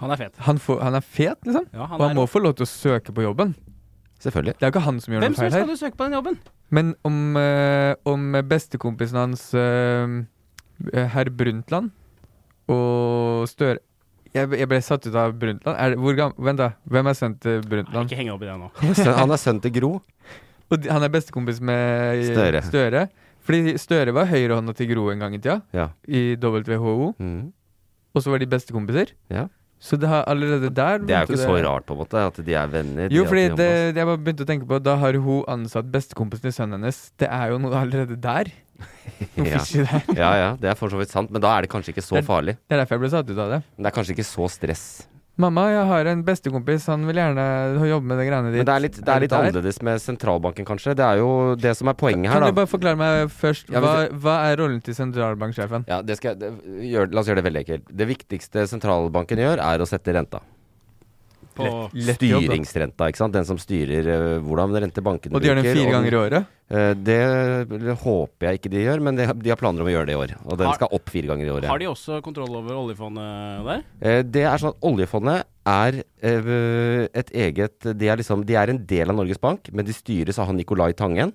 S5: Han er fet.
S4: Han, får, han er fet, liksom?
S5: Ja, han
S4: og han
S5: er-
S4: må få lov til å søke på jobben.
S3: Selvfølgelig.
S4: Det er jo ikke han som gjør
S5: Hvem
S4: noe
S5: som
S4: feil
S5: skal
S4: her.
S5: du søke på den jobben?
S4: Men om, eh, om bestekompisen hans, eh, herr Brundtland, og Støre jeg, jeg ble satt ut av Brundtland. Er, det- hvor gam- vent, da. Hvem er sønnen til Brundtland?
S5: Ikke henge opp i det nå.
S3: Han er sønn- han er sønn til Gro.
S4: Og de- han er bestekompis med eh,
S3: Støre.
S4: Støre. Fordi Støre var høyrehånda til Gro en gang i tida,
S3: Ja. Mm-hmm.
S4: i WHO. Og så var de bestekompiser.
S3: Ja.
S4: Så det har allerede der
S3: Det er jo
S4: begynte
S3: ikke så rart, på en måte, at de er venner. de
S4: Jo,
S3: at
S4: fordi
S3: de
S4: det,
S3: omgås.
S4: det jeg bare begynte å tenke på Da har hun ansatt bestekompisen til sønnen hennes. Det er jo noe allerede der. Noe
S3: ja.
S4: fishy der.
S3: ja, ja. Det er for så vidt sant, men da er det kanskje ikke så
S4: Det-
S3: farlig.
S4: Det er derfor jeg ble satt ut av det.
S3: Men Det er kanskje ikke så stress.
S4: Mamma, jeg har en bestekompis. Han vil gjerne jobbe med de greiene ditt.
S3: Men det er litt, det er litt
S4: der?
S3: annerledes med sentralbanken, kanskje. Det er jo det som er poenget her,
S4: Kan
S3: da.
S4: du bare forklare meg først
S3: Ja,
S4: hva,
S3: men
S4: hva er rollen til sentralbanksjefen?
S3: Ja, det skal, jeg- det, gjør, la oss gjøre det veldig enkelt. Det viktigste sentralbanken gjør, er å sette renta.
S5: På
S4: jobb, da.
S3: Styringsrenta, ikke sant. Den som styrer eh, hvordan rente bankene
S4: Og de gjør den fire ganger i året?
S3: Eh, det håper jeg ikke de gjør, men de, har- de har planer om å gjøre det i år. Og den
S5: Har-
S3: skal opp fire ganger i året.
S5: Har de også kontroll over oljefondet der?
S3: Eh, Det er sånn at oljefondet er eh, et eget De er, liksom, de er en del av Norges Bank, men de styres av han Nicolai Tangen.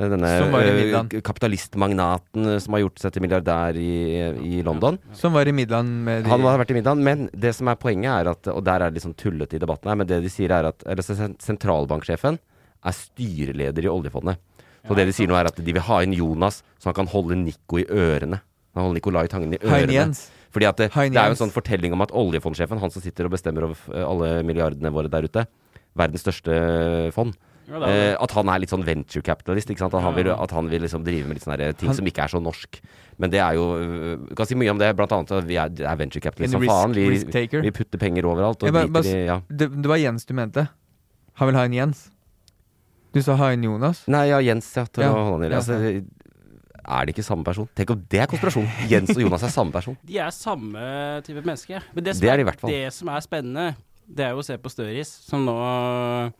S3: eh, Denne
S4: Som var i
S3: eh,
S4: Midland.
S3: k- kapitalistmagnaten eh, som har gjort seg til milliardær i, eh, i London.
S4: Som var i Midland med de
S3: Han har vært i middagen, men det som er poenget er at Og der er det litt sånn tullete i debatten her, men det de sier er at eller, så sen- sentralbanksjefen er styreleder i oljefondet. Så det de sier nå er at de vil ha inn Jonas, så han kan holde Nico i ørene. Han holder Nicolai Tangen i
S4: Hein
S3: ørene.
S4: Jens.
S3: Fordi at det,
S4: Hein
S3: det er jo en
S4: Jens.
S3: sånn fortelling om at oljefondsjefen, han som sitter og bestemmer over eh, alle milliardene våre der ute, verdens største fond
S5: Ja, det er
S3: eh,
S5: det.
S3: At han er litt sånn venture capitalist. Ikke sant? At, han
S5: Ja, ja.
S3: vil, at han vil liksom drive med litt sånne her ting
S4: Han-
S3: som ikke er så norsk. Men det er jo øh, Du kan si mye om det, blant annet at vi er, det er venture capitalist
S4: En
S3: som
S4: risk-
S3: faen.
S4: risk
S3: Vi,
S4: taker.
S3: vi putter penger overalt og
S4: Jeg bare- bare
S3: driter i
S4: s-
S3: ja.
S4: det, det var Jens du mente. Han vil ha en Jens. Du sa ha en Jonas.
S3: Nei, ja, Jens, ja. Til
S4: Ja,
S3: å holde han i
S4: ja.
S3: altså, er det ikke samme person? Tenk om det er konspirasjon! Jens og Jonas er samme person.
S5: De er samme type menneske. Men
S3: Det er de i hvert fall.
S5: det som er spennende, det er jo å se på Støris, som nå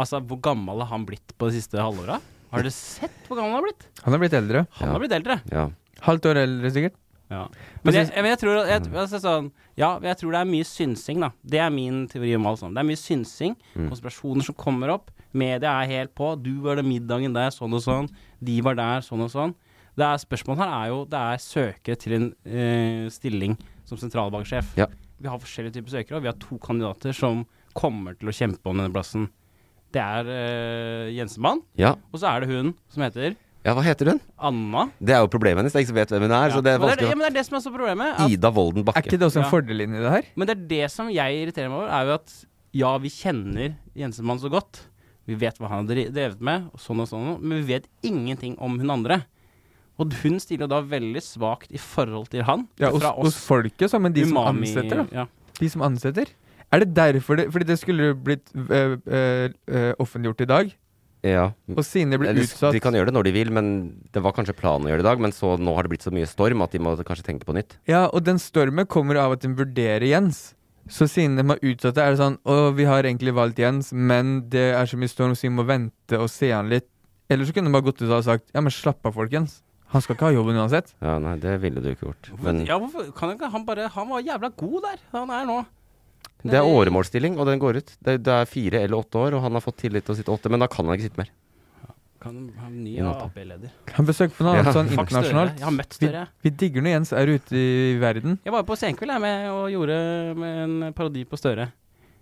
S5: Altså, hvor gammel har han blitt på de siste halvåra? Har dere sett hvor gammel han har blitt?
S4: Han har blitt eldre.
S5: Han har blitt eldre.
S3: Ja.
S4: Halvt år eldre, sikkert.
S5: Ja.
S3: Altså,
S5: Men jeg, jeg, men jeg tror at-
S3: Mm.
S5: jeg, altså, sånn, Ja, jeg tror det er mye synsing, da. Det er min teori om alt sammen. Det er mye synsing,
S3: Mm.
S5: konspirasjoner som kommer opp. Media er helt på. Du var den middagen der, sånn og sånn. De var der, sånn og sånn. Det er Spørsmålet her er jo Det er søkere til en eh, stilling som sentralbanksjef.
S3: Ja.
S5: Vi har forskjellige typer søkere, og vi har to kandidater som kommer til å kjempe om denne plassen. Det er eh, Jensemann,
S3: Ja.
S5: og så er det hun som heter
S3: ja, hva heter hun?
S5: Anna.
S3: Det er jo problemet hennes. Det er ingen som vet hvem hun er. Så Altså, det er
S5: Men det, ja,
S3: vanskelig.
S5: men det er det som er så problemet.
S3: å-
S5: at-
S3: Ida Wolden Bakke.
S4: Er ikke det også en
S5: Ja.
S4: fordel inn i det her?
S5: Men det er det som jeg irriterer meg over, er jo at ja, vi kjenner Jensemann så godt. Vi vet hva han har dri- drevet med, og sånn og sånn, men vi vet ingenting om hun andre. Og hun stiller da veldig svakt i forhold til han.
S4: Ja, hos,
S5: fra
S4: hos folket, så, men de som
S5: umami-
S4: ansetter, da.
S5: Ja.
S4: De som ansetter. Er det derfor det Fordi det skulle jo blitt øh, øh, øh, offentliggjort i dag.
S3: Ja.
S4: Og siden det ble
S3: Eller,
S4: utsatt
S3: Eh, De kan gjøre det når de vil, men det var kanskje planen å gjøre det i dag. Men så nå har det blitt så mye storm at de må kanskje tenke på nytt.
S4: Ja, og den stormen kommer av at den vurderer Jens. Så siden de har utsatt det, er det sånn Å, vi har egentlig valgt Jens, men det er så mye storm, så vi må vente og se han litt. Eller så kunne de bare gått ut og sagt Ja, men slapp av, folkens. Han skal ikke ha jobben uansett.
S3: Ja, nei, det ville du ikke gjort. Men
S5: Men, ja, hvorfor kan ikke han bare Han var jævla god der, han er nå.
S3: det er åremålsstilling, og den går ut. Det, det er fire eller åtte år, og han har fått tillit til å sitte åtte, men da kan han ikke sitte mer.
S5: Kan han ny
S3: I natta.
S5: Ap-leder.
S4: Han besøker på noe annet
S3: Ja.
S4: sånn
S5: Fuck Støre.
S4: internasjonalt.
S5: Jeg har møtt
S4: vi,
S5: Støre.
S4: vi digger når Jens er ute i verden.
S5: Jeg var jo på Senkveld jeg, med, og gjorde med en parodi på Støre.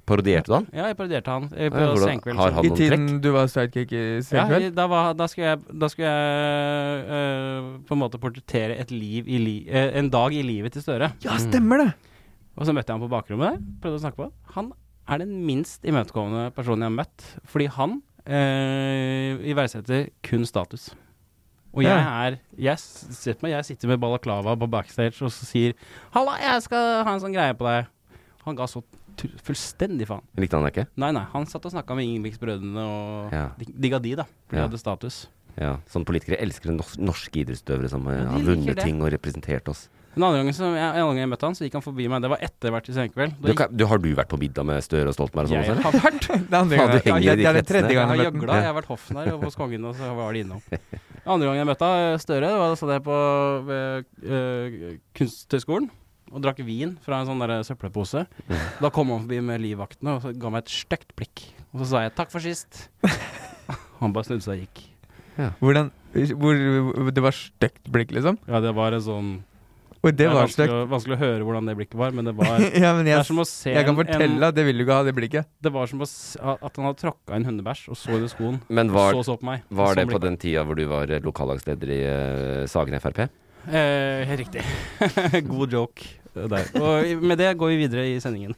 S3: Parodierte du han?
S5: Ja, jeg parodierte han eh, på
S3: Ja, hvordan-
S5: Senkveld.
S3: har han
S4: I
S3: noen
S4: tiden
S3: trekk?
S4: du var sidekick i
S5: Ja,
S4: Senkveld.
S5: i- da, var, da skulle jeg, da skulle jeg øh, på en måte portrettere et liv i li, øh, en dag i livet til Støre.
S4: Ja, stemmer det!
S5: Og så møtte jeg ham på bakrommet der. Prøvde å snakke på han. Han er den minst imøtekommende personen jeg har møtt. Fordi han øh, iverksetter kun status. Og jeg
S4: Ja.
S5: er jeg, s- sett meg, jeg sitter med balaklava på backstage og så sier 'Halla, jeg skal ha en sånn greie på deg'. Han ga så tu- fullstendig faen.
S3: Likte han deg ikke?
S5: Nei, nei. Han satt og snakka med Ingebrigtsbrødrene og
S3: Ja.
S5: dig- digga de, da. For de
S3: Ja.
S5: hadde status.
S3: Ja. Sånne politikere elsker nors norske idrettsutøvere som eh,
S5: de
S3: har
S5: liker
S3: vunnet
S5: det.
S3: ting og representert oss.
S5: Den andre gangen, som jeg, en annen gang jeg møtte han, så gikk han forbi meg. Det var etter hvert i senkveld. Da
S3: Du,
S5: gikk-
S3: kan, du, har du vært på middag med Støre og Stoltenberg og sånn
S5: jeg
S3: også, eller?
S5: har vært
S4: Det andre
S3: Faen,
S4: gangen.
S3: du henger
S4: Ja,
S3: i de
S4: det er den
S3: kretsene.
S4: tredje
S5: Jeg
S4: gangen
S5: har
S4: jeg møtte
S5: gjøgla,
S4: den.
S5: jeg har vært hoffnarr og hos kongen, og så var de innom. Andre gangen jeg møtte han, eh, Støre, det var da satt jeg på eh, eh, Kunsthøgskolen og drakk vin fra en sånn der søppelpose. Da kom han forbi med livvaktene og så ga meg et stygt blikk. Og så sa jeg 'takk for sist'. Han bare snudde seg og gikk.
S4: Hvordan hvor, hvor- Det var stygt blikk, liksom?
S5: Ja, det var en sånn
S4: Og det var
S5: vanskelig,
S4: stygt.
S5: å- vanskelig å høre hvordan det blikket var, men det var
S4: ja, men
S5: det
S4: jeg,
S5: er som å se
S4: jeg kan
S5: en-
S4: fortelle
S5: en-
S4: at det vil du ikke ha, det blikket.
S5: Det var som å s- at han hadde tråkka en hundebæsj og så det i skoen.
S3: Men var,
S5: og så så på meg.
S3: var
S5: Sånn
S3: det
S5: blir
S3: på den tida hvor du var eh, lokallagsleder i eh, Sagen Frp?
S5: Eh, helt riktig. God joke der. Og i- med det går vi videre i sendingen.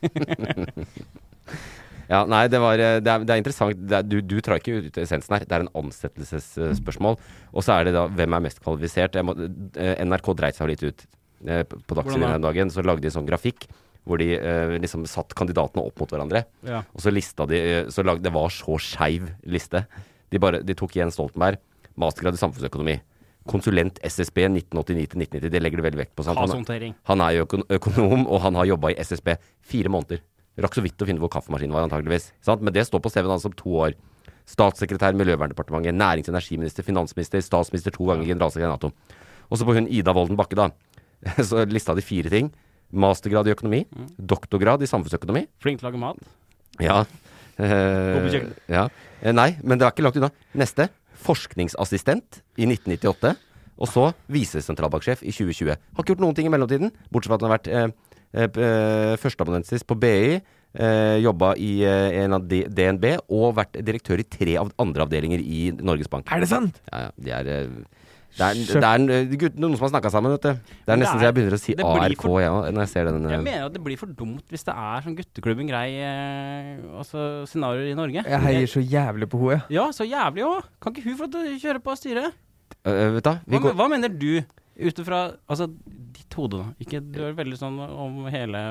S3: Ja, nei, det, var, eh, det, er, det er interessant. Det er, du, du trar ikke ut essensen her. Det er en ansettelsesspørsmål. Og så er det da hvem er mest kvalifisert. Jeg må, eh, NRK dreit seg jo litt ut. Eh, p- På
S5: Hvordan da?
S3: Dagsrevyen den dagen så lagde de en sånn grafikk hvor de eh, liksom satt kandidatene opp mot hverandre.
S5: Ja.
S3: Og så lista de eh, så lagde, Det var så skeiv liste. De, bare, de tok Jens Stoltenberg, mastergrad i samfunnsøkonomi. Konsulent SSB 1989-1990. Det legger du veldig vekt på. sant? Han-
S5: Kaoshåndtering.
S3: han er jo økon økonom, og han har jobba i SSB fire måneder. Rakk så vidt å finne hvor kaffemaskinen var, antageligvis. Sant? Men det står på CV-en hans om to år. Statssekretær, Miljøverndepartementet, nærings- og energiminister, finansminister, statsminister, to ganger generalsekretær i Nato. Og så på hun Ida Wolden Bakke, da. Så lista de fire ting. Mastergrad i økonomi. Doktorgrad i samfunnsøkonomi.
S5: Flink til å lage mat.
S3: Ja.
S5: God på
S3: Eh,
S5: kjøkkenet.
S3: ja. Eh, Nei, men det er ikke langt unna. Neste. Forskningsassistent i 1998. Og så visesentralbanksjef i 2020. Har ikke gjort noen ting i mellomtiden, bortsett fra at han har vært eh, eh, p- eh, førsteamanuensis på BI, eh, jobba i eh, en av D- DNB og vært direktør i tre av andre avdelinger i Norges Bank.
S4: Er det sant?
S3: Ja, ja. De er, eh, det er, det er en, eh, gutt, noen som har snakka sammen, vet du. Det er
S5: Men det
S3: nesten så
S5: er-
S3: jeg begynner å si
S5: det blir
S3: ARK
S5: for-
S3: ja, når jeg ser den. eh,
S5: Jeg mener at det blir for dumt hvis det er sånn gutteklubben grei eh, altså, scenarioer i Norge.
S4: Jeg heier så jævlig på henne, jeg.
S5: Ja, så jævlig òg! Kan ikke hun få lov til å kjøre på og styre?
S3: eh, vet du, hva? vi
S5: Hva,
S3: går-
S5: hva mener du? Ut ifra altså, ditt hode, da. Ikke, du er veldig sånn om hele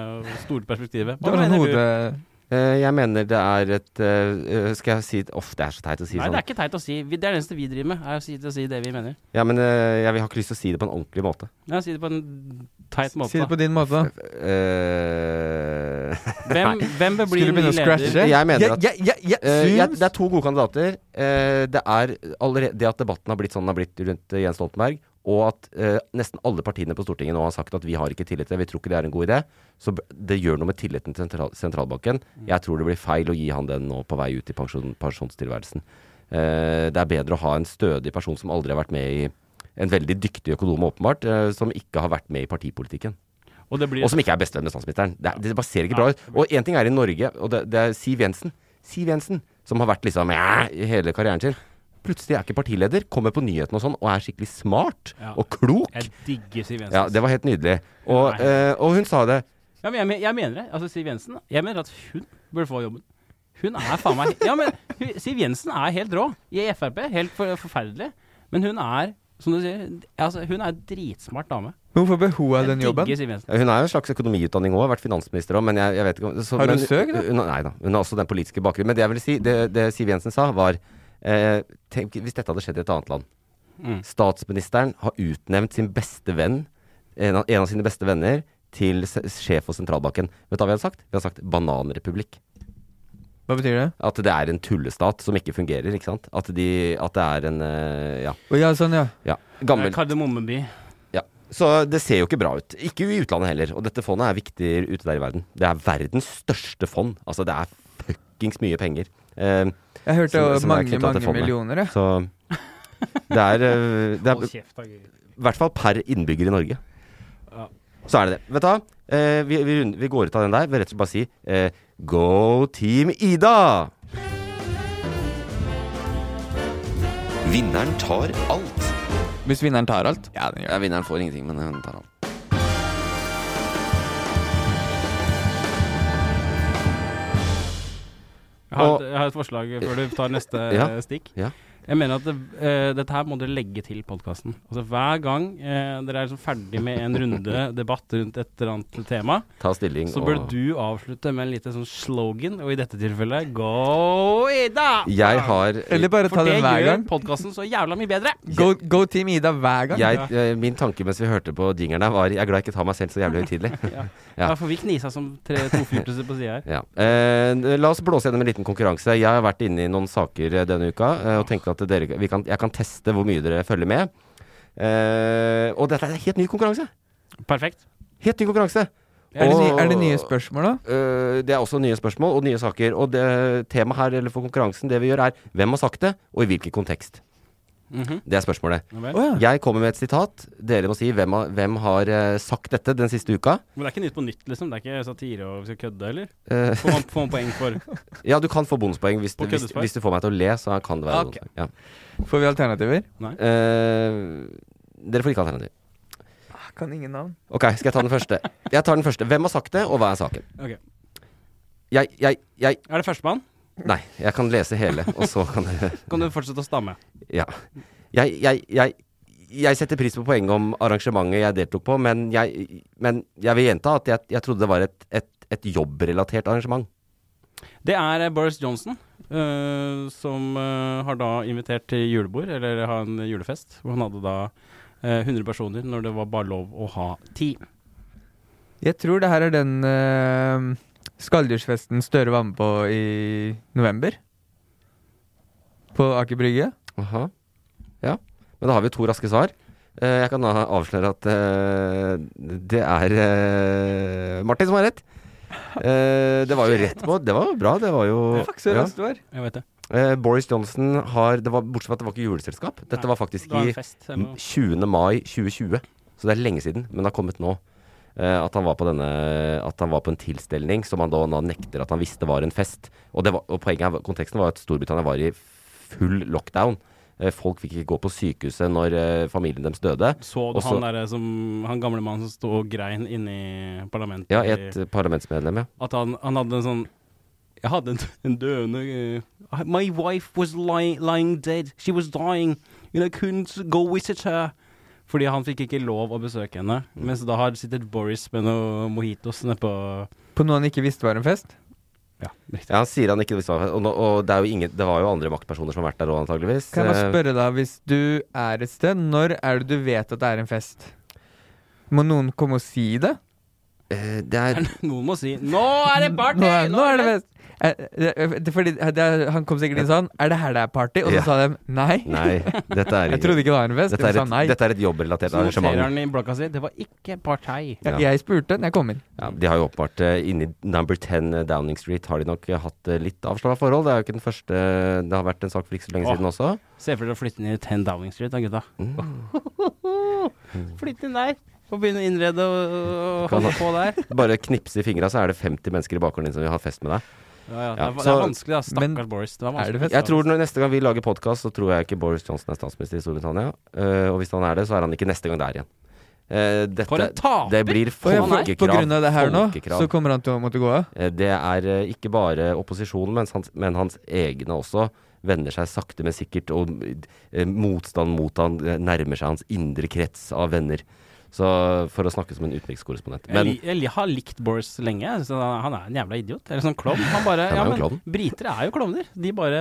S5: store perspektivet.
S4: sånn
S5: Hva mener du?
S3: Eh, jeg mener det er et eh, eh, Skal jeg si Uff, det er så teit å si
S5: Nei,
S3: sånn.
S5: det er ikke teit å si. Vi- Det er det eneste vi driver med, er å si, å si det vi mener.
S3: Ja, men eh, jeg har ikke lyst til å si det på en ordentlig måte.
S5: Ja, si det på en teit måte. da.
S4: din måte, da.
S3: Eh,
S5: Hvem-
S3: nei.
S5: hvem bør bli Skulle du begynne å ny leder? scratche?
S3: Jeg mener
S5: Jeg-
S3: at
S5: jeg- jeg- jeg
S3: eh,
S5: syns-
S3: jeg- Det er to gode kandidater. Eh, det er allerede Det at debatten har blitt sånn den har blitt rundt eh, Jens Stoltenberg, og at eh, nesten alle partiene på Stortinget nå har sagt at vi har ikke tillit til det, vi tror ikke det er en god idé. Så b- det gjør noe med tilliten til sentral sentralbanken.
S5: Mm.
S3: Jeg tror det blir feil å gi han den nå på vei ut i pensjon, pensjonstilværelsen. Eh, det er bedre å ha en stødig person som aldri har vært med i En veldig dyktig økonom, åpenbart, eh, som ikke har vært med i partipolitikken.
S5: Og, det blir-
S3: som ikke er bestevenn med statsministeren. Det, er- det bare ser ikke bra ut. Og én ting er i Norge, og det, det er Siv Jensen. Siv Jensen, som har vært liksom "Mæ" i hele karrieren sin. Plutselig er ikke partileder, kommer på nyhetene og sånn, og er skikkelig smart
S5: Ja.
S3: og klok.
S5: Jeg digger Siv Jensen.
S3: Ja, det var helt nydelig. Og, eh, og hun sa det.
S5: Ja, men jeg, men- jeg mener det. Altså, Siv Jensen Jeg mener at hun burde få jobben. Hun er faen meg Ja, men hun, Siv Jensen er helt rå. I Frp, helt for, forferdelig. Men hun er, som du sier, altså, hun er en dritsmart dame.
S4: Hvorfor bør hun ha den
S5: digger
S4: jobben?
S5: Siv Jensen.
S3: Hun er jo en slags økonomiutdanning òg, har vært finansminister òg, men jeg, jeg vet ikke om så,
S4: Har hun
S3: men-
S4: søkt, da?
S3: Hun, nei da. Hun har også den politiske bakgrunnen. Men det jeg vil si, det, det Siv Jensen sa, var eh, tenk, Hvis dette hadde skjedd i et annet land
S5: Mm.
S3: Statsministeren har utnevnt sin beste venn, en av, en av sine beste venner, til se- sjef for sentralbanken. Vet du hva vi hadde sagt? Vi hadde sagt bananrepublikk.
S4: Hva betyr det?
S3: At det er en tullestat som ikke fungerer, ikke sant? At, de, at det er en eh, Ja.
S4: Å ja, sånn, ja.
S3: ja. Gammel,
S5: Det er Kardemommeby.
S3: ja. Så det ser jo ikke bra ut. Ikke i utlandet heller. Og dette fondet er viktig ute der i verden. Det er verdens største fond. Altså, det er fuckings mye penger. eh,
S4: Jeg hørte
S3: som-
S4: jo
S3: som er
S4: mange,
S3: knyttet til
S4: mange
S3: fondet.
S4: millioner, jeg.
S3: Så det er, eh, det
S5: Hold
S3: er
S5: kjeft, da, Geir.
S3: I hvert fall per innbygger i Norge.
S5: Ja.
S3: Så er det det. Vet du hva? Eh, vi, vi, rund- vi går ut av den der. Vi rett og slett bare si eh, Go Team Ida!
S2: Vinneren tar alt.
S4: Hvis vinneren tar alt?
S3: Ja, den gjør det. vinneren får ingenting, men hun tar alt.
S5: Jeg har,
S3: Og-
S4: eh,
S5: et, jeg har et forslag før du tar neste
S3: Ja,
S5: eh, stikk.
S3: ja.
S5: Jeg mener at det, eh, dette her må dere legge til podkasten. Altså, hver gang eh, dere er liksom ferdig med en runde debatt rundt et eller annet tema,
S3: Ta stilling
S5: så bør
S3: og-
S5: du avslutte med en liten sånn slogan, og i dette tilfellet Go Ida!
S3: Jeg har
S4: Eller bare ta
S5: For
S4: den
S5: det
S4: hver
S5: gjør
S4: gang.
S5: podkasten så jævla mye bedre.
S4: Go, go Team Ida hver gang.
S3: jeg, eh, Min tanke mens vi hørte på jingeren der, var Jeg er glad jeg ikke tar meg selv så jævlig høytidelig.
S5: Ja.
S3: Ja.
S5: Ja, for vi knisa som tre tofyrtelser på sida her.
S3: Ja. Eh, la oss blåse gjennom en liten konkurranse. Jeg har vært inne i noen saker eh, denne uka eh, og tenkte at at dere, vi kan, jeg kan teste hvor mye dere følger med. Eh, og dette er en helt ny konkurranse.
S5: Perfekt.
S3: Helt ny konkurranse.
S4: Er det, ny-
S3: Og-
S4: er det nye spørsmål, da?
S3: Eh, det er også nye spørsmål og nye saker. Og det, temaet her eller for konkurransen det vi gjør, er hvem har sagt det, og i hvilken kontekst. Det er spørsmålet.
S5: Mhm. Ja vel. Å,
S3: Jeg kommer med et sitat. Dere må si hvem, har- hvem har eh, sagt dette den siste uka.
S5: Men det er ikke Nytt på Nytt, liksom? Det er ikke satire og vi skal kødde, eller?
S3: Eh.
S5: Får man, får man poeng for
S3: Ja, du kan få bonuspoeng hvis, du-
S5: Og
S3: hvis,
S5: køddesvar.
S3: hvis du får meg til å le. Så kan det være
S5: Ah, Ok.
S3: bonuspoeng. Ja.
S4: Får vi alternativer?
S5: Nei.
S3: Eh, dere får ikke alternativ.
S4: Kan ingen navn.
S3: Ok, skal jeg ta den første? Jeg tar den første. Hvem har sagt det, og hva er saken?
S5: Ok.
S3: Jeg, jeg, jeg
S5: Er det førstemann?
S3: Nei, jeg kan lese hele, og så kan dere
S5: Kan du fortsette å stamme?
S3: Ja. Jeg, jeg, jeg, jeg setter pris på poenget om arrangementet jeg deltok på, men jeg, men jeg vil gjenta at jeg, jeg trodde det var et, et, et jobbrelatert arrangement.
S5: Det er eh, Boris Johnson. eh, som eh, har da invitert til julebord, eller ha en julefest. Hvor han hadde da eh, 100 personer, når det var bare lov å ha 10.
S4: Jeg tror det her er den uh, skalldyrsfesten Støre var med på i november. På Aker Brygge.
S3: Aha. Ja. Men da har vi to raske svar. Eh, Jeg kan da avsløre at eh, det er eh, Martin som har rett. Eh, Det var jo rett på. Det var jo bra. Det var jo ja.
S5: Jeg vet det.
S3: Eh, Boris Johnson har det var, Bortsett fra at det var ikke juleselskap. Dette
S5: Nei,
S3: var faktisk
S5: det var en
S3: i
S5: fest, eller noe.
S3: 20. mai 2020. Så det er lenge siden, men det har kommet nå. eh, at, han var på denne, at han var på en tilstelning som han da, da nekter at han visste var en fest. Og, det var, og poenget her, var- konteksten var at Storbritannia var i full lockdown. Eh, folk fikk ikke gå på sykehuset når eh, familien deres døde.
S5: Så du
S3: Og så-
S5: han derre som Han gamle mannen som sto og grein inni parlamentet?
S3: Ja,
S5: i-
S3: et eh, parlamentsmedlem, ja.
S5: At han, han hadde en sånn Jeg hadde en, en døende eh, My wife was lying, lying dead. She was dying. And I couldn't go visit her. Fordi han fikk ikke lov å besøke henne. Mens da har sittet Boris med noen mojitos nede på
S4: På noe han ikke visste var en fest.
S3: ja. Han sier han ikke visste hva- og, nå- og det, er jo ingen, det var jo andre maktpersoner som har vært der òg, antageligvis.
S4: Kan jeg bare
S3: Eh,
S4: spørre deg, hvis du er et sted, når er det du vet at det er en fest? Må noen komme og si det?
S3: Eh, det er
S5: Noen må si 'Nå er det party!'
S4: Nå er, nå er det fest! Eh, det- det- Fordi det er, Han kom sikkert inn sånn Er det her det er party? Og så
S3: Ja.
S4: sa de nei.
S3: Nei, dette er
S4: Jeg trodde ikke det var en fest.
S3: Dette
S4: De
S3: er
S4: sa
S3: et,
S4: nei.
S3: dette er et jobbrelatert
S5: Så noterer
S3: arrangement.
S5: han i blokka si 'Det var ikke partei'.
S4: Ja, Jeg spurte når jeg kom inn.
S3: Ja, de har jo åpenbart eh, inni Number 10 Downing Street har de nok eh, hatt eh, litt avslappa forhold. Det er jo ikke den første eh, Det har vært en sak for ikke så lenge
S5: Åh.
S3: siden også.
S5: Se for dere å flytte inn i 10 Downing Street, da, gutta. Mm. Flytt inn der. Og begynne å innrede og, og holde på der.
S3: Bare knipse i fingra, så er det 50 mennesker i bakgården din som vil ha fest med deg.
S5: Ja,
S3: Ja,
S5: ja, det, er, det
S3: så-
S5: er vanskelig, da. Stakkars Boris. Det var vanskelig.
S3: Jeg tror når neste gang vi lager podkast, så tror jeg ikke Boris Johnson er statsminister i Storbritannia. Eh, og hvis han er det, så er han ikke neste gang der igjen. Eh, dette,
S4: For en taper!
S3: Det blir
S4: Og jeg-
S3: folkekrav.
S4: På grunn av det her nå,
S3: folkekrav.
S4: så kommer han til å måtte gå av.
S3: Eh, Det er eh, ikke bare opposisjonen, men hans, men hans egne også vender seg sakte, men sikkert, og eh, motstand mot han eh, nærmer seg hans indre krets av venner. Så for å snakke som en utenrikskorrespondent.
S5: Jeg,
S3: Men
S5: li, jeg li- har likt Boris lenge. jeg synes han- han er en jævla idiot. Eller sånn klovn. Han bare,
S3: Han er
S5: ja,
S3: jo
S5: men
S3: klovn.
S5: briter er jo klovner. De bare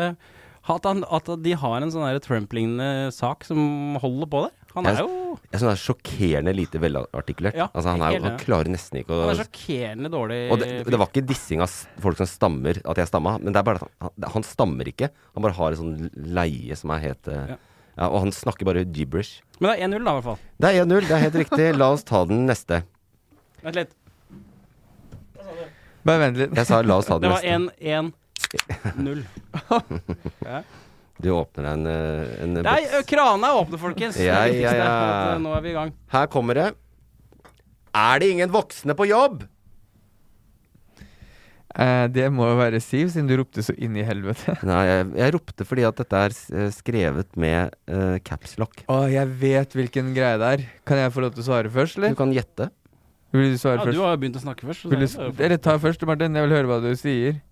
S5: At, han, at de har en sånn der Trump-lignende sak som holder på der. Han er
S3: jeg,
S5: jo
S3: jeg synes han er sjokkerende lite velartikulert.
S5: Ja,
S3: altså, han, er,
S5: helt
S3: jo- han
S5: enig.
S3: klarer nesten ikke å
S5: Han er sjokkerende dårlig.
S3: Og det, det var ikke dissing av s- folk som stammer, at jeg stamma, men det er bare at han, han, han stammer ikke. Han bare har en sånn leie som er helt eh,
S5: Ja.
S3: ja, Og han snakker bare gibberish.
S5: Men det er 1-0, da, i hvert fall.
S3: Det er 1-0, det er helt riktig. La oss ta den neste.
S5: Vent litt.
S4: Bare vent litt.
S3: Jeg sa la oss ta
S5: Det
S3: den
S5: var
S3: neste.
S5: 1-1-0. ja.
S3: Du åpner en, eh, en
S5: Nei,
S3: boks.
S5: ø, krana er åpne, folkens. Det er
S3: Ja,
S5: det viktigste,
S3: ja, ja.
S5: at, ø, Nå er vi i gang.
S3: Her kommer det. Er det ingen voksne på jobb?
S4: Eh, det må jo være Siv, siden du ropte så inn i helvete.
S3: Nei, jeg, jeg ropte fordi at dette er s- eh, skrevet med eh, caps lock.
S4: Å, jeg vet hvilken greie det er. Kan jeg få lov til å svare først, eller?
S3: Du kan gjette.
S4: Vil du svare
S5: Ja,
S4: først?
S5: du har jo begynt å snakke først. så
S4: Vil du,
S5: det er jo-
S4: s- eller ta først, Martin. Jeg vil høre hva du sier.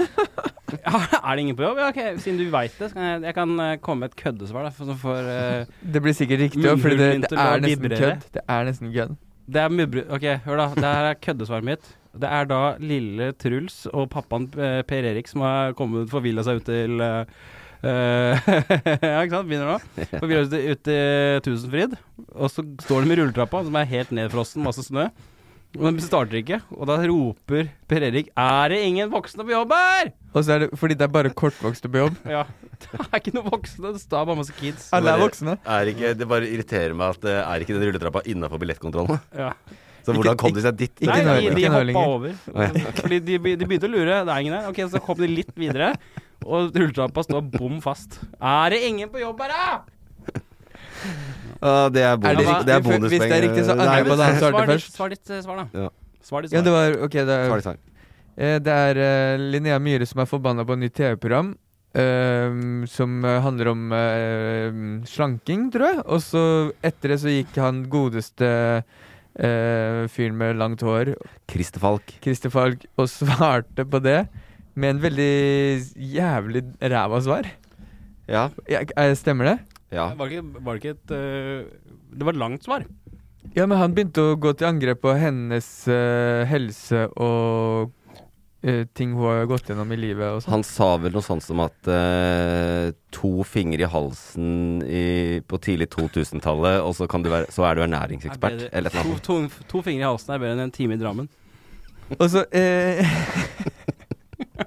S5: Er det ingen på jobb? Ja, ok, Siden du veit det, så kan jeg, jeg kan eh, komme med et køddesvar. Da, for, som får, eh,
S4: Det blir sikkert riktig, også, fordi det,
S5: munnhulen
S4: det
S5: til å
S4: er nesten
S5: vibrere.
S4: kødd. Det er nesten kødd.
S5: Det er mubru... Ok, hør da. Det her er køddesvaret mitt. Det er da lille Truls og pappaen eh, Per Erik som har kommet forvilla seg ut til eh, eh, Ja, ikke sant? Begynner nå. Forvilla eh, seg ut til Tusenfryd. Og så står de i rulletrappa, som er helt nedfrossen, masse snø. Men den starter ikke, og da roper Per Erik 'Er det ingen voksne på jobb her?'
S4: Og så er det fordi det er bare kortvokste på jobb.
S5: Ja. Det er ikke noen voksne, det står bare masse kids.
S3: Er ikke, det bare irriterer meg at det er ikke den rulletrappa innafor billettkontrollen.
S5: Ja.
S3: Så hvordan kom de seg dit?
S5: Nei, de, de hoppa over.
S3: Å, ja.
S5: Fordi de, be- de begynte å lure. Det er ingen her. Ok, Så kom de litt videre, og rulletrappa står bom fast. Er det ingen på jobb her, da?!
S3: Ah, det er, bonus,
S4: Er det riktig?
S3: det er
S4: Hvis-
S3: bonuspoeng.
S4: hvis det er riktig, så
S3: Nei,
S4: angrer jeg
S3: men-
S4: på at han svarte
S5: Svar ditt,
S4: først.
S5: svar ditt eh, svar, da.
S3: Ja.
S5: Svar ditt
S4: Ja,
S5: svar.
S4: det var Ok, det
S3: Svar ditt svar.
S4: er, eh, det er eh, Linnea Myhre som er forbanna på et nytt TV-program. eh, som eh, handler om eh, slanking, tror jeg. Og så etter det så gikk han godeste eh, fyren med langt hår
S3: Christer Falk.
S4: Christer Falk og svarte på det med en veldig jævlig ræva svar.
S3: Ja.
S4: eh, stemmer det?
S3: Ja.
S5: Var det ikke, var det ikke et eh, Det var et langt svar.
S4: Ja, men han begynte å gå til angrep på hennes eh, helse og eh, ting hun har gått gjennom i livet og sånn.
S3: Han sa vel noe sånt som at eh, to fingre i halsen i, på tidlig 2000-tallet, og så, kan du være, så er du ernæringsekspert.
S5: Er
S3: Eller et
S5: bedre-
S3: eller annet.
S5: to, to, to fingre i halsen er bedre enn en time i Drammen.
S4: Og så eh,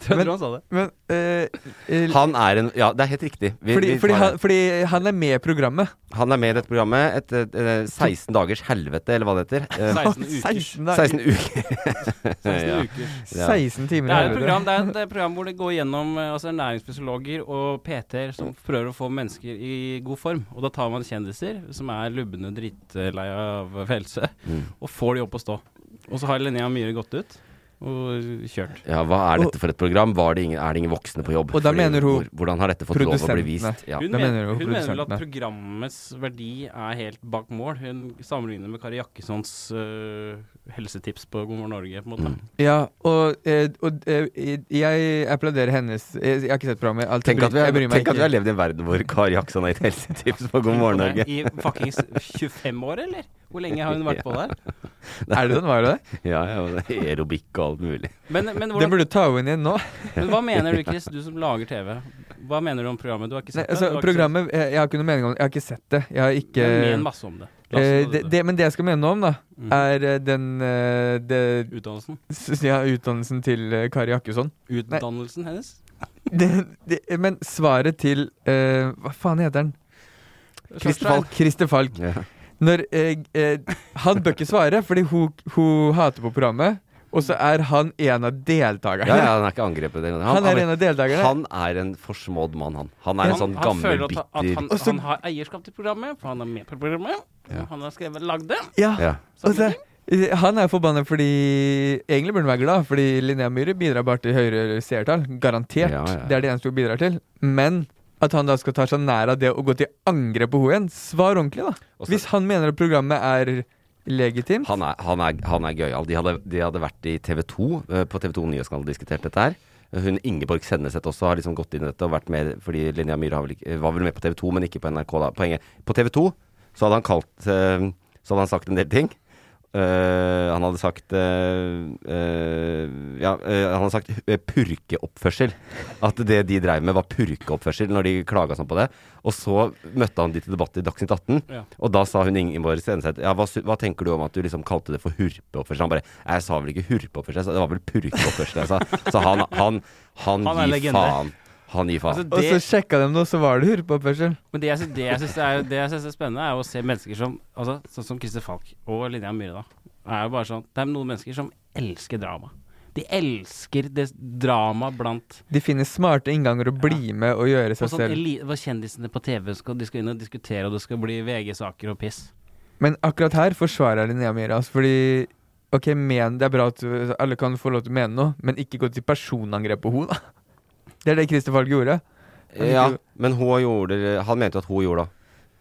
S5: Tror jeg tror han sa det.
S4: Men eh, eh,
S3: Han er en Ja, det er helt riktig. Vi-
S4: fordi,
S3: vi
S4: fordi,
S3: var
S4: han, fordi han er med i programmet.
S3: Han er med i dette programmet. Et, et, et 16 dagers helvete, eller hva det heter. Eh,
S5: 16 ukers.
S3: 16 uker.
S5: 16
S3: Ja.
S5: uker.
S3: Ja.
S5: Det er, et program, det, er et, eh, program hvor det går gjennom eh, altså ernæringsfysiologer og PT-er som prøver å få mennesker i god form. Og da tar man kjendiser som er lubne drittlei av helse,
S3: Mm.
S5: og får de opp å stå. Og så har Linnea Myhre gått ut og kjørt.
S3: Ja, hva er dette for et program? Var det ingen, er det ingen voksne på jobb?
S4: Og da
S3: Fordi
S4: mener hun
S3: hvor- Hvordan har dette fått lov å bli vist?
S4: produsentene.
S3: Ja.
S5: Hun,
S4: Da
S5: mener,
S4: mener jo
S5: hun mener vel at
S4: produsentene.
S5: programmets verdi er helt bak mål. Hun sammenligner med Kari Jakkessons eh, helsetips på God morgen Norge, på en
S3: Mm.
S5: måte.
S4: Ja, og, eh, og eh, jeg applauderer hennes Jeg, jeg har ikke sett programmet. alt jeg
S3: Tenk at, vi
S4: bryr-
S3: har,
S4: jeg bryr meg
S3: tenk at
S4: ikke.
S3: vi har levd i en verden hvor Kari Jackson har gitt helsetips på God morgen, Norge.
S5: I fuckings 25 år, eller? Hvor lenge har hun vært på der?
S4: Er det sånn, var det det?
S3: Ja, ja, og det er aerobikk og alt mulig.
S5: Men, men
S4: Den
S5: hvordan
S4: burde du ta henne inn nå.
S5: Men hva mener du, Chris, du som lager TV? Hva mener du om programmet? Du har ikke
S4: Nei,
S5: sett
S4: altså,
S5: det? Du har ikke
S4: programmet jeg, jeg har ikke noe mening om det. Jeg har ikke sett det. Jeg har ikke
S5: Men men masse om det. La oss
S4: Eh, det,
S5: nå det.
S4: det, men det jeg skal mene noe om, da,
S3: Mm.
S4: er eh, den eh, det,
S5: Utdannelsen?
S4: s- Ja, utdannelsen til eh, Kari Jakkesson.
S5: sett Utdannelsen hennes?
S4: Det, det, men svaret til eh, Hva faen heter han?
S5: Christer Falk.
S4: Christer Falk. Når eh, eh, Han bør ikke svare, fordi hun, hun hater på programmet. Og så er han en av deltakerne.
S3: Ja, ja, han er ikke angrepet. den gangen.
S4: Han er en av deltakerne.
S3: Han er en forsmådd mann, han. Han er en sånn gammel,
S5: føler at, at
S3: bitter
S5: han, han har eierskap til programmet, for han er med på programmet. Han har skrevet lagd det.
S4: Ja.
S3: Ja.
S4: Og så, eh, han er forbanna fordi Egentlig burde han være glad, fordi Linnea Myhre bidrar bare til høyere seertall. Garantert.
S3: Ja, ja.
S4: Det er det eneste hun bidrar til. Men at han da skal ta seg nær av det og gå til angrep på henne igjen, svar ordentlig, da. Hvis han mener at programmet er legitimt.
S3: Han er, han er, han er gøyal. De, hadde- de hadde vært i TV 2, eh, på TV 2 Nyhetskanal og diskutert dette her. Hun Ingeborg Senneset også har liksom gått inn i dette og vært med, fordi Linnea Myhre har vel ikke, var vel med på TV 2, men ikke på NRK. da. Poenget På TV 2 så hadde han kalt eh, Så hadde han sagt en del ting. Eh, han hadde sagt eh, eh, Ja, eh, han hadde sagt eh, purkeoppførsel. At det de dreiv med var purkeoppførsel, når de klaga sånn på det. Og så møtte han de til debatt i Dagsnytt 18,
S5: Ja.
S3: og da sa hun Ingeborg Stenseth ja, hva, sy- hva tenker du om at du liksom kalte det for hurpeoppførsel? Han bare Jeg sa vel ikke hurpeoppførsel, jeg sa- det var vel purkeoppførsel jeg sa. Så han, han, han,
S5: Han er
S3: gir
S5: legende.
S3: faen. Han gir faen.
S5: Altså,
S4: Og
S5: det-
S4: så sjekka de det, og så var det hurpeoppførsel.
S5: Men det jeg syns det jeg syns er, det jeg syns er spennende, er å se mennesker som altså, Sånn som Christer Falk og Linnea Myhre, da. Er jo bare sånn, det er noen mennesker som elsker drama. De elsker det drama blant
S4: De finner smarte innganger å bli med og gjøre seg
S5: og sånn,
S4: selv.
S5: eli, hva Kjendisene på TV skal, de skal inn og diskutere, og det skal bli VG-saker og piss.
S4: Men akkurat her forsvarer jeg Linnea Myhre. Altså, fordi Ok, men Det er bra at uh, alle kan få lov til å mene noe, men ikke gå til personangrep på henne, da. Det er det Christer Falk gjorde. Han
S3: Ja,
S4: gjorde-
S3: men hun gjorde Han mente jo at hun gjorde det.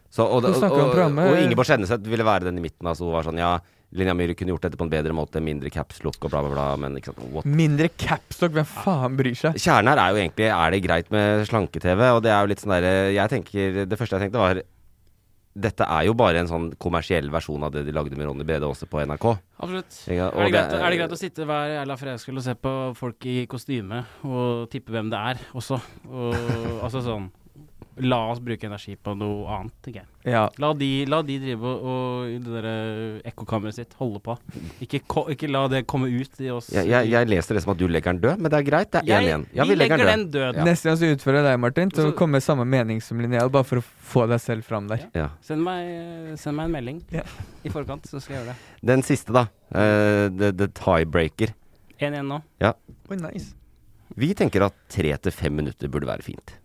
S3: Så, og,
S4: Hun
S3: og,
S4: snakker om
S3: og,
S4: programmet.
S3: og Ingeborg Senneset ville være den i midten. Altså, hun var sånn Ja, Linnea Myhre kunne gjort dette på en bedre måte. Mindre caps look og bla, bla, bla. Men ikke sant, what
S4: Mindre capstock, hvem faen bryr seg?
S3: Kjernen her er jo egentlig Er det greit med slanke-TV? Og det er jo litt sånn derre Jeg tenker Det første jeg tenkte, var Dette er jo bare en sånn kommersiell versjon av det de lagde med Ronny Brede Aase på NRK.
S5: Absolutt.
S3: Ikke sant?
S5: Er det,
S3: Og
S5: greit, er det greit å sitte hver jævla fredagskveld og se på folk i kostyme, og tippe hvem det er også? Og, altså sånn La oss bruke energi på noe annet, tenker jeg.
S4: Ja.
S5: La, de, la de drive og, og i det der eh, ekkokammeret sitt holde på. Ikke, ko, ikke la det komme ut i oss.
S3: Jeg, jeg, jeg leser det som at du legger den død, men det er greit. Det er
S5: Jeg-
S3: 1-1.
S5: vi legger den død.
S3: Ja.
S4: Neste gang så utfordrer jeg deg, Martin, til å komme med samme mening som Linnea, bare for å få deg selv fram der.
S3: Ja.
S5: Send meg, eh, send meg en melding i forkant, så skal jeg gjøre det.
S3: Den siste, da. eh, the, the tiebreaker.
S5: 1-1 nå.
S3: Ja.
S4: Oi, nice.
S3: Vi tenker at tre til fem minutter burde være fint.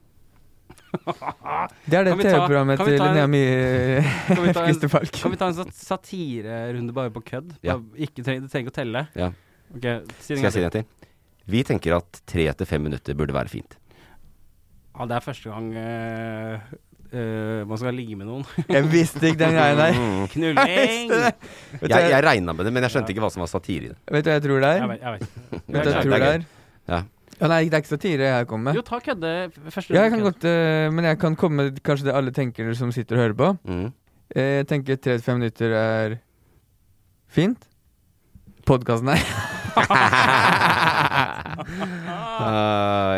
S4: Det er det
S5: Kan vi ta-
S4: TV-programmet
S5: kan vi
S4: til
S5: ta en-
S4: Linnea Mie
S5: Kan vi ta en-
S4: Christer Falk.
S5: Kan vi ta en sat- satirerunde bare på kødd?
S3: Ja.
S5: Bare Ikke treng, du trenger ikke å telle.
S3: Ja.
S5: Ok, si
S3: Skal jeg si det en
S5: det?
S3: til? Vi tenker at tre til fem minutter burde være fint.
S5: Ja, det er første gang eh, eh, man skal ligge med noen.
S4: Jeg visste ikke den greia der.
S3: Mm.
S5: Knulling!
S4: Jeg
S3: Jeg, jeg regna med det, men jeg skjønte ikke hva som var satire i det.
S4: Vet du hva jeg tror det er?
S5: Jeg vet- jeg vet.
S4: Vet du hva jeg tror det er?
S3: Ja.
S4: Å nei, det er ikke satire jeg kommer med.
S5: Jo, ta kødde f- første
S4: Ja, jeg kan
S5: runde
S4: godt, eh, men jeg kan komme med kanskje det alle tenker som sitter og hører på.
S3: Mm.
S4: Eh, Jeg tenker 35 minutter er fint. Podkasten er
S3: Ah,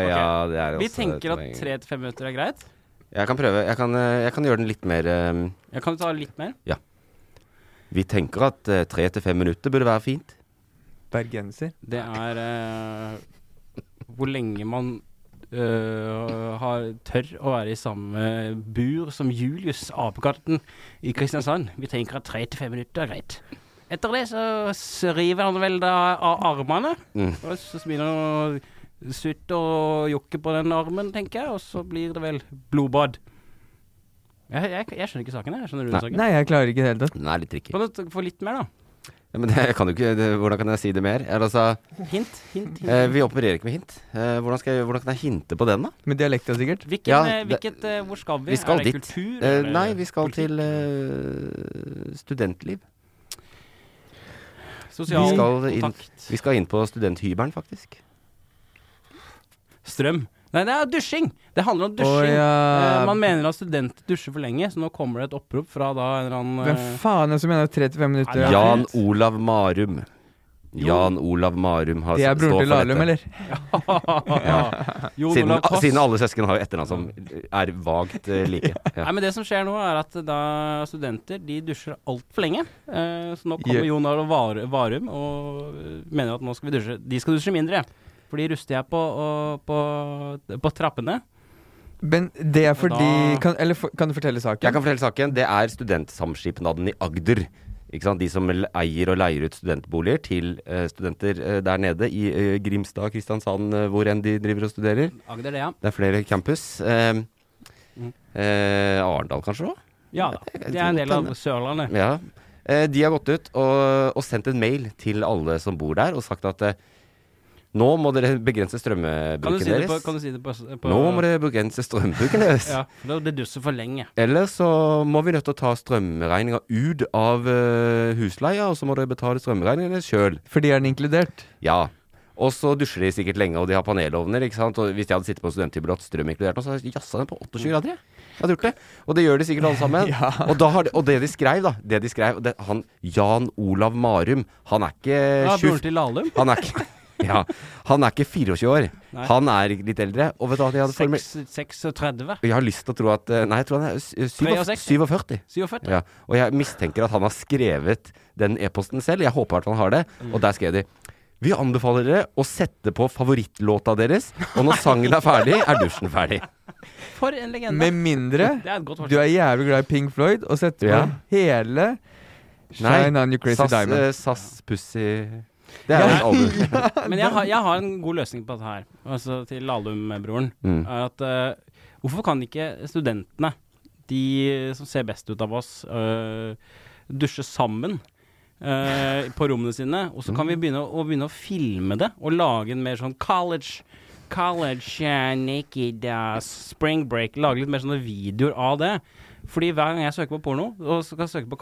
S3: ja, Altså, det er
S5: kødd.
S3: også
S5: Vi
S3: et
S5: tenker at
S3: poeng.
S5: tre til fem minutter er greit.
S3: Jeg kan prøve. Jeg kan, eh, jeg kan gjøre den litt mer eh,
S5: Jeg kan ta litt mer.
S3: Ja. Vi tenker at eh, tre til fem minutter burde være fint.
S4: bergenser.
S5: Det er eh, hvor lenge man eh, har, tør å være i samme bur som Julius apekatten i Kristiansand. Vi tenker at tre til fem minutter er greit. Etter det så s- river han vel da av armene,
S3: Mm.
S5: og så begynner han å sutte og jokke på den armen, tenker jeg, og så blir det vel blodbad. Jeg, jeg, jeg skjønner ikke saken, jeg. Skjønner du
S3: Nei.
S5: saken?
S4: Nei, jeg klarer ikke i det hele tatt.
S3: Den er litt tricky.
S5: Kan du t- få litt mer, da?
S3: Ja, men det, jeg kan jo ikke, det, hvordan kan jeg si det mer? Eller Altså,
S5: Hint, hint, hint.
S3: eh, vi opererer ikke med hint. Eh, hvordan, skal jeg, hvordan kan jeg hinte på den, da?
S4: Med dialekta, sikkert.
S5: Hvilken,
S3: Ja,
S5: eh,
S3: det-
S5: hvilket, eh, hvor skal vi?
S3: Vi skal
S5: er det
S3: dit.
S5: kultur?
S3: Eh,
S5: eller?
S3: nei, vi skal til eh, studentliv.
S5: Sosial
S3: vi skal inn,
S5: kontakt.
S3: vi skal inn på studenthybelen, faktisk.
S5: Strøm. Nei, det er dusjing! Det handler om dusjing.
S4: Å, ja.
S5: Eh, man mener at studenter dusjer for lenge, så nå kommer det et opprop fra da en eller annen
S4: Hvem
S5: eh,
S4: faen er det som mener 35 minutter? er
S3: Jan
S4: fint?
S3: Olav Marum. Jan Olav Marum har
S4: Det er
S3: s-
S4: broren
S3: står
S4: til
S3: altså, for
S4: Lahlum,
S3: dette.
S4: eller?
S3: Ja.
S5: Jon
S3: Siden,
S5: Olav Koss.
S3: siden alle søsken har jo etternavn som er vagt eh, like. Ja.
S5: Nei, men Det som skjer nå, er at da studenter de dusjer altfor lenge. Eh, så nå
S3: Ja.
S5: kommer Jon Arne Var Varum og eh, mener at nå skal vi dusje. De skal dusje mindre, for de ruster jeg på, og, på, på trappene.
S4: Men det er fordi
S5: Da-
S4: kan, Eller for, kan du fortelle saken?
S3: Jeg kan fortelle saken. Det er studentsamskipnaden i Agder. Ikke sant? De som l- eier og leier ut studentboliger til eh, studenter eh, der nede i eh, Grimstad, Kristiansand, eh, hvor enn de driver og studerer.
S5: Agder, det, ja.
S3: Det er flere campus. Eh,
S5: Mm.
S3: eh, Arendal kanskje òg?
S5: Ja da. Det er en del av Sørlandet.
S3: Ja. Eh, de har gått ut og, og sendt en mail til alle som bor der, og sagt at eh, nå må dere begrense
S5: Kan du
S3: strømbruken
S5: si det
S3: deres.
S5: på, kan du si det på, på
S3: Nå må dere begrense strømbruken deres.
S5: Ja, for det- det dusser for lenge.
S3: Eller så må vi nødt til å ta strømregninga ut av eh, husleia, og så må dere betale strømregninga deres sjøl.
S4: Fordi er den inkludert?
S3: Ja. Og så dusjer de sikkert lenge, og de har panelovner. ikke sant? Og Hvis jeg hadde sittet på en studenthybel og hatt strøm inkludert, nå, så hadde jeg jazza den på 28 grader. jeg. Jeg hadde gjort det. Og det gjør de sikkert alle sammen. og, da har de, og det de skrev, da det de skrev, det, han, Jan Olav Marum, han er ikke
S5: Ja, broren
S3: 20
S5: til Lahlum.
S3: Han er ikke ja, han er ikke 24 år.
S5: Nei.
S3: Han er litt eldre. Og vet du hva de hadde formulert?
S5: Seks- 36.
S3: Jeg har lyst til å tro at eh, Nei, jeg tror han er s- eh,
S5: 63.
S3: 47.
S5: 47.
S3: Ja, og jeg mistenker at han har skrevet den e-posten selv. Jeg håper at han har det.
S5: Mm.
S3: Og der skrev de Vi anbefaler dere å sette på favorittlåta deres, og når sangen er ferdig, er dusjen ferdig.
S5: For en legende.
S4: Med mindre
S5: Det er et godt forslag.
S4: du er jævlig glad i Pink Floyd og setter
S3: Ja.
S4: på hele Shine on your crazy
S3: SAS,
S4: diamond.
S3: eh, SAS Pussy Det er jo et album.
S5: Men jeg har, jeg har en god løsning på dette her, altså til Lahlum-broren.
S3: Mm.
S5: Er at eh, hvorfor kan ikke studentene, de som ser best ut av oss, eh, dusje sammen? eh, på rommene sine, og så kan vi
S3: Mm.
S5: begynne å, å begynne å filme det og lage en mer sånn college College eh, naked eh, spring break. Lage litt mer sånne videoer av det. Fordi hver gang jeg søker på porno, og så kan jeg søke på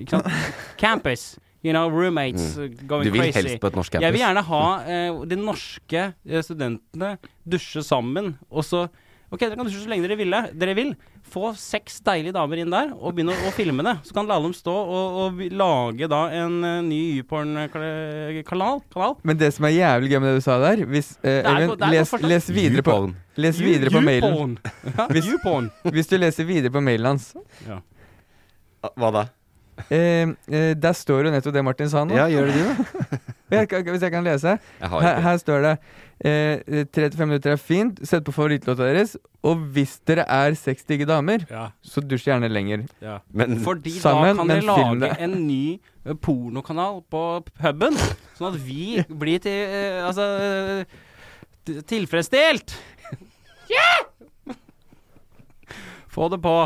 S5: ikke sant? Campus. You know, roommates
S3: Mm.
S5: eh, going
S3: Du vil
S5: crazy.
S3: helst på et norsk
S5: Jeg vil
S3: campus.
S5: gjerne ha eh, de norske eh, studentene dusje sammen, og så Ok, dere kan dusje så lenge dere, ville, dere vil. Få seks deilige damer inn der og begynne å, å filme det. Så kan la dem stå og, og lage da en eh, ny YouPorn-kanal. Kanal.
S4: Men det som er jævlig gøy med det du sa der hvis, eh,
S5: Det er
S4: Even,
S5: go- det er
S4: les,
S5: godt forslag.
S4: les videre på,
S5: YouPorn.
S4: les
S5: You-
S4: videre på mailen.
S5: YouPorn. Ja,
S4: Hvis, hvis du leser videre på mailen hans
S5: Ja.
S3: Hva da?
S4: eh, eh, Der står jo nettopp det Martin sa nå.
S3: Ja, gjør det det,
S4: Jeg kan- Hvis jeg kan lese?
S3: Jeg har
S4: her,
S3: ikke.
S4: her står det eh, 35 minutter er fint, sett på favorittlåta deres, og hvis dere er seks digge damer,
S5: Ja.
S4: så dusj gjerne lenger.
S5: Fordi
S4: Sammen,
S5: da kan
S4: men
S5: dere
S4: film
S5: lage
S4: det.
S5: en ny eh, pornokanal på puben, sånn at vi blir til eh, Altså eh, t- tilfredsstilt! Få det på.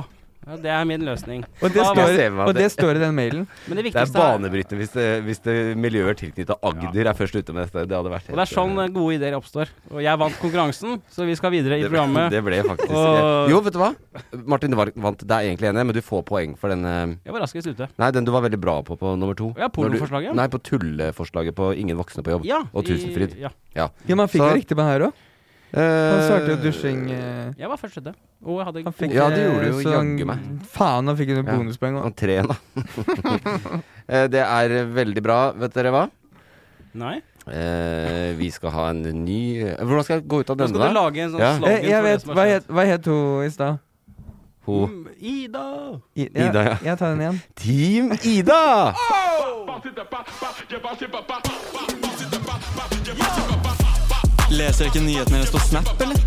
S5: Ja, det er min løsning.
S4: Og det,
S5: Da-
S4: står, og det står i den mailen.
S5: Men det
S3: Det er
S5: viktigste er-
S3: banebrytende hvis, det, hvis det miljøer tilknyttet Agder er først ute med dette. Det hadde vært
S5: Og det er sånn eh, gode ideer oppstår. Og jeg vant konkurransen, så vi skal videre i
S3: det,
S5: programmet.
S3: det ble faktisk
S5: Og-
S3: Jo, vet du hva? Martin, du var- vant. Det er egentlig enig, men du får poeng for den eh,
S5: Jeg var raskest ute.
S3: Nei, den du var veldig bra på på nummer to.
S5: Ja, pornoforslaget.
S3: Når du- Nei, på tulleforslaget på Ingen voksne på jobb.
S5: Ja,
S3: og
S5: i-
S3: Tusenfryd.
S5: ja.
S4: Ja, man fikk
S3: Så-
S4: det riktig på her òg. Han svarte jo dusjing eh,
S5: Jeg var først ute. Og jeg hadde
S4: Han fikk,
S3: Ja, det gjorde
S4: eh,
S3: jo
S4: sånn-
S3: jaggu meg.
S4: Faen, han fikk jo noen
S3: Ja,
S4: bonuspoeng òg.
S3: Og tre, da. Eh, det er veldig bra. Vet dere hva?
S5: Nei?
S3: Eh, vi skal ha en ny Hvordan skal jeg gå ut av
S5: Nå
S3: denne,
S5: skal
S3: da?
S5: du lage en sånn
S3: Ja.
S5: slogan
S4: Jeg, Eh, jeg
S5: for det
S4: vet,
S5: som har
S4: hva
S5: skjedd.
S4: het, hva het hun i stad?
S3: Ho.
S5: Ida!
S4: I-
S3: Ida, ja.
S4: Jeg tar den igjen.
S3: Team Ida!
S8: Leser jeg ikke nyhetene deres på Snap, eller?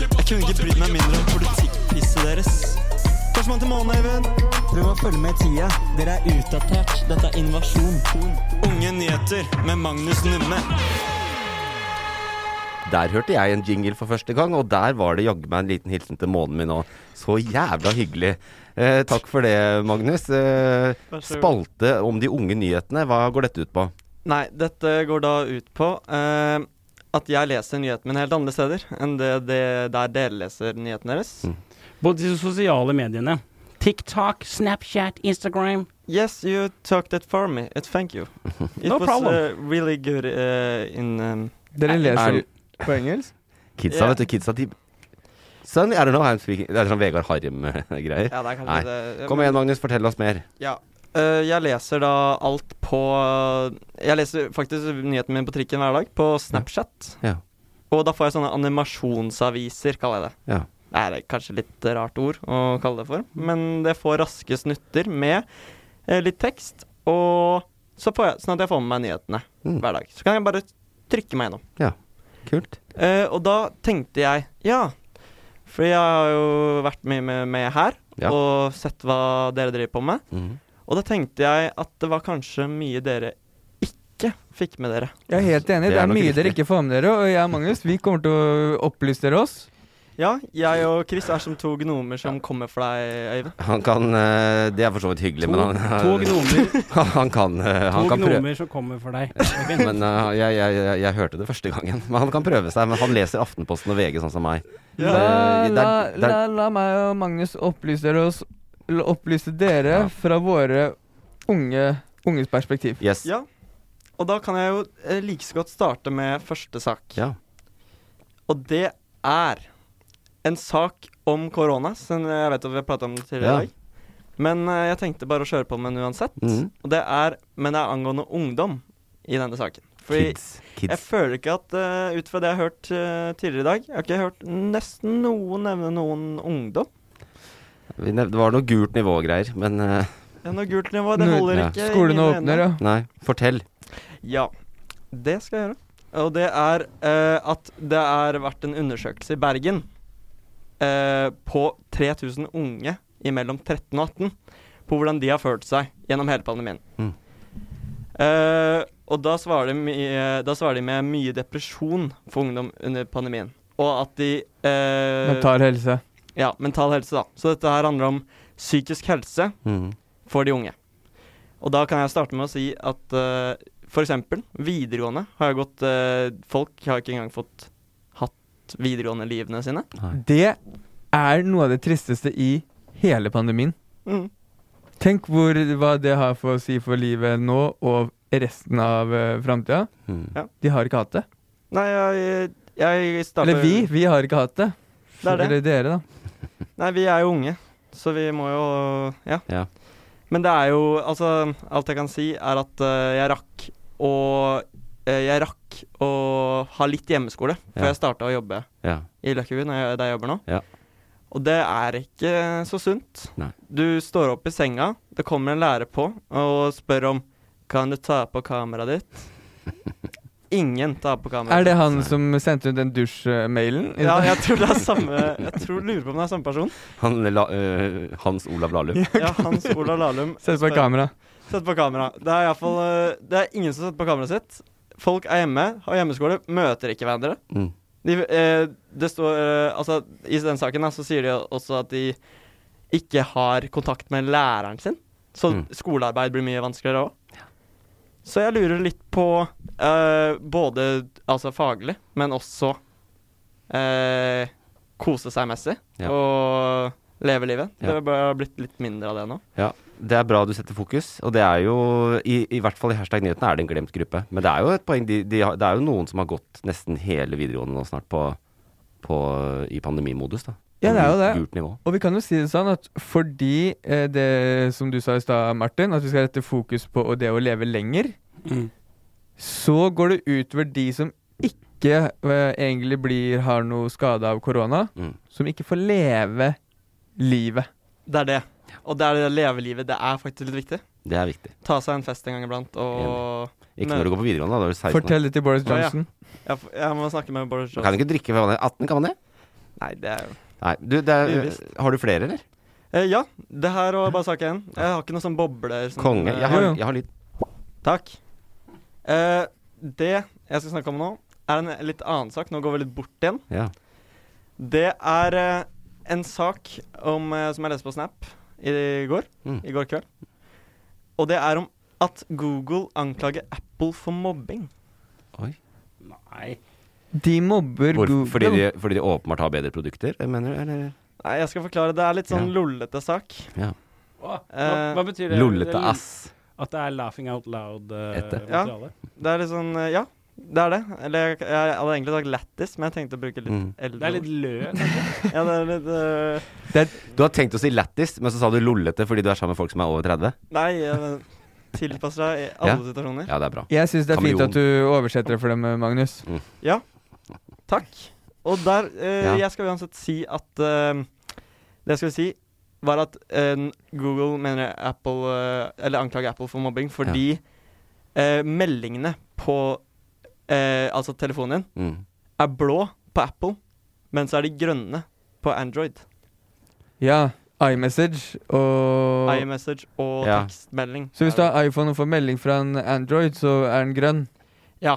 S8: Jeg kunne ikke brydd meg mindre om politikkpisset deres. Førstemann til månen, Eivind. Prøv å følge med i tida. Dere er utdatert. Dette er invasjon. Unge nyheter med Magnus Numme.
S3: Der hørte jeg en jingle for første gang, og der var det jaggu meg en liten hilsen til månen min òg. Så jævla hyggelig. Eh, takk for det, Magnus. Eh,
S8: Vær så god.
S3: spalte om de unge nyhetene, hva går dette ut på?
S8: Nei, dette går da ut på eh, at jeg leser nyhetene mine helt andre steder enn det, det der dere leser nyhetene deres.
S5: Både de sosiale mediene. TikTok, Snapchat, Instagram.
S8: Yes, you talked that for me. Uh, thank you. It
S5: No
S8: was
S5: problem.
S8: uh, really good uh, in um,
S4: Dere leser
S3: Er-
S4: på engelsk?
S3: Kidsa,
S8: Ja.
S3: vet du. Kidsa de Son, I don't know how I'm speaking Det er sånn Vegard Harm-greier.
S8: Ja, det er kanskje
S3: Nei.
S8: det.
S3: Kom igjen, Magnus. Fortell oss mer.
S8: Ja. Eh, jeg leser da alt på Jeg leser faktisk nyhetene mine på trikken hver dag, på Snapchat.
S3: Ja.
S8: Og da får jeg sånne animasjonsaviser, kaller jeg det.
S3: Ja.
S8: Nei, det er kanskje litt rart ord å kalle det for, men det får raske snutter med eh, litt tekst, og så får jeg, sånn at jeg får med meg nyhetene hver dag. Så kan jeg bare trykke meg gjennom.
S3: Ja. Kult.
S8: Eh, og da tenkte jeg ja, for jeg har jo vært mye med, med her
S3: Ja.
S8: og sett hva dere driver på med.
S3: Mhm.
S8: Og da tenkte jeg at det var kanskje mye dere ikke fikk med dere.
S4: Jeg er helt enig.
S8: Det
S4: Det
S8: er
S4: er
S8: nok
S4: mye dere
S8: riktig.
S4: ikke får med dere, og jeg og Magnus vi kommer til å opplyse dere oss.
S8: Ja, jeg og Chris er som to gnomer som kommer for deg, Øyvind.
S3: Han kan eh, Det er for så vidt hyggelig,
S8: To-
S3: men han
S8: to gnomer.
S3: Han kan, eh, han
S5: To
S3: kan prøve.
S5: gnomer som kommer for deg.
S3: Men eh, jeg, jeg, jeg, jeg hørte det første gangen. Men han kan prøve seg. Men han leser Aftenposten og VG, sånn som meg.
S4: La,
S3: Eh, det
S4: la,
S3: er- det er-
S4: la, la meg og Magnus opplyse dere, oss, l- opplyse dere fra våre unge, unges perspektiv.
S8: Ja. Og da kan jeg jo eh, like så godt starte med første sak.
S3: Ja.
S8: Og det er en sak om korona, som jeg vet at vi har pratet om det tidligere
S3: Ja.
S8: i dag. Men eh, jeg tenkte bare å kjøre på med den uansett.
S3: Mhm.
S8: Og det er, men det er angående ungdom i denne saken. Fordi
S3: Kids. Kids.
S8: jeg føler ikke at eh, ut fra det jeg har hørt eh, tidligere i dag Jeg har ikke hørt nesten noen nevne noen ungdom.
S3: Vi nev- Det var noe gult nivå-greier, men eh,
S8: Det er noe gult nivå, det holder ikke. i
S4: Skolene
S8: mine
S4: åpner,
S8: øyne.
S4: ja.
S3: Nei, fortell.
S8: Ja, det skal jeg gjøre. Og det er eh, at det har vært en undersøkelse i Bergen eh, på 3000 unge imellom 13 og 18 på hvordan de har følt seg gjennom hele pandemien.
S3: Mm.
S8: Eh, og da svarer, de mye- da svarer de med mye depresjon for ungdom under pandemien. Og at de eh,
S4: Mental helse.
S8: Ja, mental helse, da. Så dette her handler om psykisk helse
S3: Mhm.
S8: for de unge. Og da kan jeg starte med å si at eh, for eksempel videregående har jo gått eh, Folk har ikke engang fått hatt videregående-livene sine.
S4: Det er noe av det tristeste i hele pandemien.
S8: Mm.
S4: Tenk hvor, hva det har for å si for livet nå og resten av uh, framtida.
S8: Ja.
S3: Mhm.
S4: De har ikke hatt det.
S8: Nei, jeg, jeg starter
S4: Eller vi. Vi har ikke hatt det.
S5: det er det.
S4: Eller dere, da.
S5: Nei, vi er jo unge, så vi må jo Ja.
S3: Ja.
S5: Men det er jo Altså, alt jeg kan si, er at eh, jeg rakk å eh, Jeg rakk å ha litt hjemmeskole før
S3: Ja.
S5: jeg starta å jobbe
S3: Ja.
S5: i Løkkebu, når jeg- der jeg jobber nå.
S3: Ja.
S5: Og det er ikke så sunt.
S3: Nei.
S5: Du står opp i senga, det kommer en lærer på og spør om Kan du ta på kameraet ditt? Ingen tar på kameraet
S4: Er det
S5: sitt.
S4: han som sendte ut den dusjmailen?
S5: Ja, jeg tror det er samme Jeg tror lurer på om det er samme person.
S3: Han, la, øh, Hans Olav Lahlum.
S5: Ja, Hans Olav Lahlum.
S4: Sett på kamera.
S5: Sett på kamera. Det er, i hvert fall, eh, det er ingen som setter på kameraet sitt. Folk er hjemme, har hjemmeskole, møter ikke hverandre.
S3: Mm.
S5: De, eh, det står, eh, altså, I den saken da, så sier de også at de ikke har kontakt med læreren sin. Så skolearbeid blir mye vanskeligere òg. Så jeg lurer litt på eh, både altså faglig, men også eh, kose seg-messig.
S3: Ja.
S5: Og leve livet.
S3: Ja.
S5: Det har blitt litt mindre av det nå.
S3: Ja, det er bra du setter fokus, og det er jo I, i hvert fall i hashtag nyhetene er det en glemt gruppe. Men det er jo et poeng, de, de har, det er jo noen som har gått nesten hele videregående nå snart på, på, i pandemimodus, da.
S4: Ja, det er jo det.
S3: Gult nivå.
S4: Og vi kan jo si det sånn at fordi eh, det som du sa i stad, Martin, at vi skal rette fokus på og det å leve lenger,
S3: Mm.
S4: så går det utover de som ikke eh, egentlig blir, har noe skade av korona,
S3: Mm.
S4: som ikke får leve livet.
S5: Det er det. Og det er det å leve livet. Det er faktisk litt viktig.
S3: Det er viktig.
S5: Ta seg en fest en gang iblant og
S3: Ikke når du går på videregående, da. Da er du 16.
S4: Fortell det til Boris
S5: Å, ja.
S4: Johnson.
S5: Ja, for- Jeg må snakke med Boris
S3: Man kan
S5: Johnson.
S3: ikke drikke før man er 18, kan man det?
S5: Nei, det er jo
S3: Nei, du, det er,
S5: Uvisst.
S3: har du flere, eller?
S5: eh, Ja, det her var bare sak én. Jeg har ikke noe sånn bobler. som-
S3: Konge. Jeg har, jeg har litt
S5: Takk. Eh, det jeg skal snakke om nå, er en litt annen sak. Nå går vi litt bort igjen.
S3: Ja.
S5: Det er eh, en sak om, eh, som jeg leste på Snap i går,
S3: Mm.
S5: i går kveld. Og det er om at Google anklager Apple for mobbing.
S3: Oi.
S5: Nei.
S4: De mobber
S3: Hvor,
S4: Google.
S3: fordi, de, fordi de åpenbart har bedre produkter, mener du? Eller?
S5: Nei, jeg skal forklare. Det er litt sånn lollete sak.
S3: Ja.
S9: Hva,
S5: Eh,
S9: hva betyr det?
S3: Lollete
S9: Det-
S3: ass. eh,
S9: At det er laughing out eh, loud-materiale?
S3: Ette.
S5: Ja, det er litt sånn eh, Ja, det er det. Eller jeg, jeg hadde egentlig sagt lættis, men jeg tenkte å bruke litt
S3: Mm.
S5: eldre
S9: Det er litt lø,
S5: kanskje? ja, det er litt eh,
S3: Det er, du har tenkt å si lættis, men så sa du lollete fordi du er sammen med folk som er over 30?
S5: Nei, jeg tilpasser deg i alle
S3: Ja.
S5: situasjoner.
S3: Ja, det er bra.
S4: Jeg syns det er fint
S3: Kameleon.
S4: at du oversetter det for dem, Magnus.
S5: Ja. Takk. Og der eh,
S4: Ja.
S5: Jeg skal uansett si at eh, Det jeg skulle si, var at eh, Google mener Apple eh, Eller anklager Apple for mobbing fordi eh, meldingene på eh, Altså telefonen din
S3: Mm.
S5: er blå på Apple, men så er de grønne på Android.
S4: Ja. iMessage og
S5: iMessage og
S4: Ja.
S5: tekstmelding.
S4: Så hvis du har iPhone og får melding fra en Android, så er den grønn?
S5: Ja.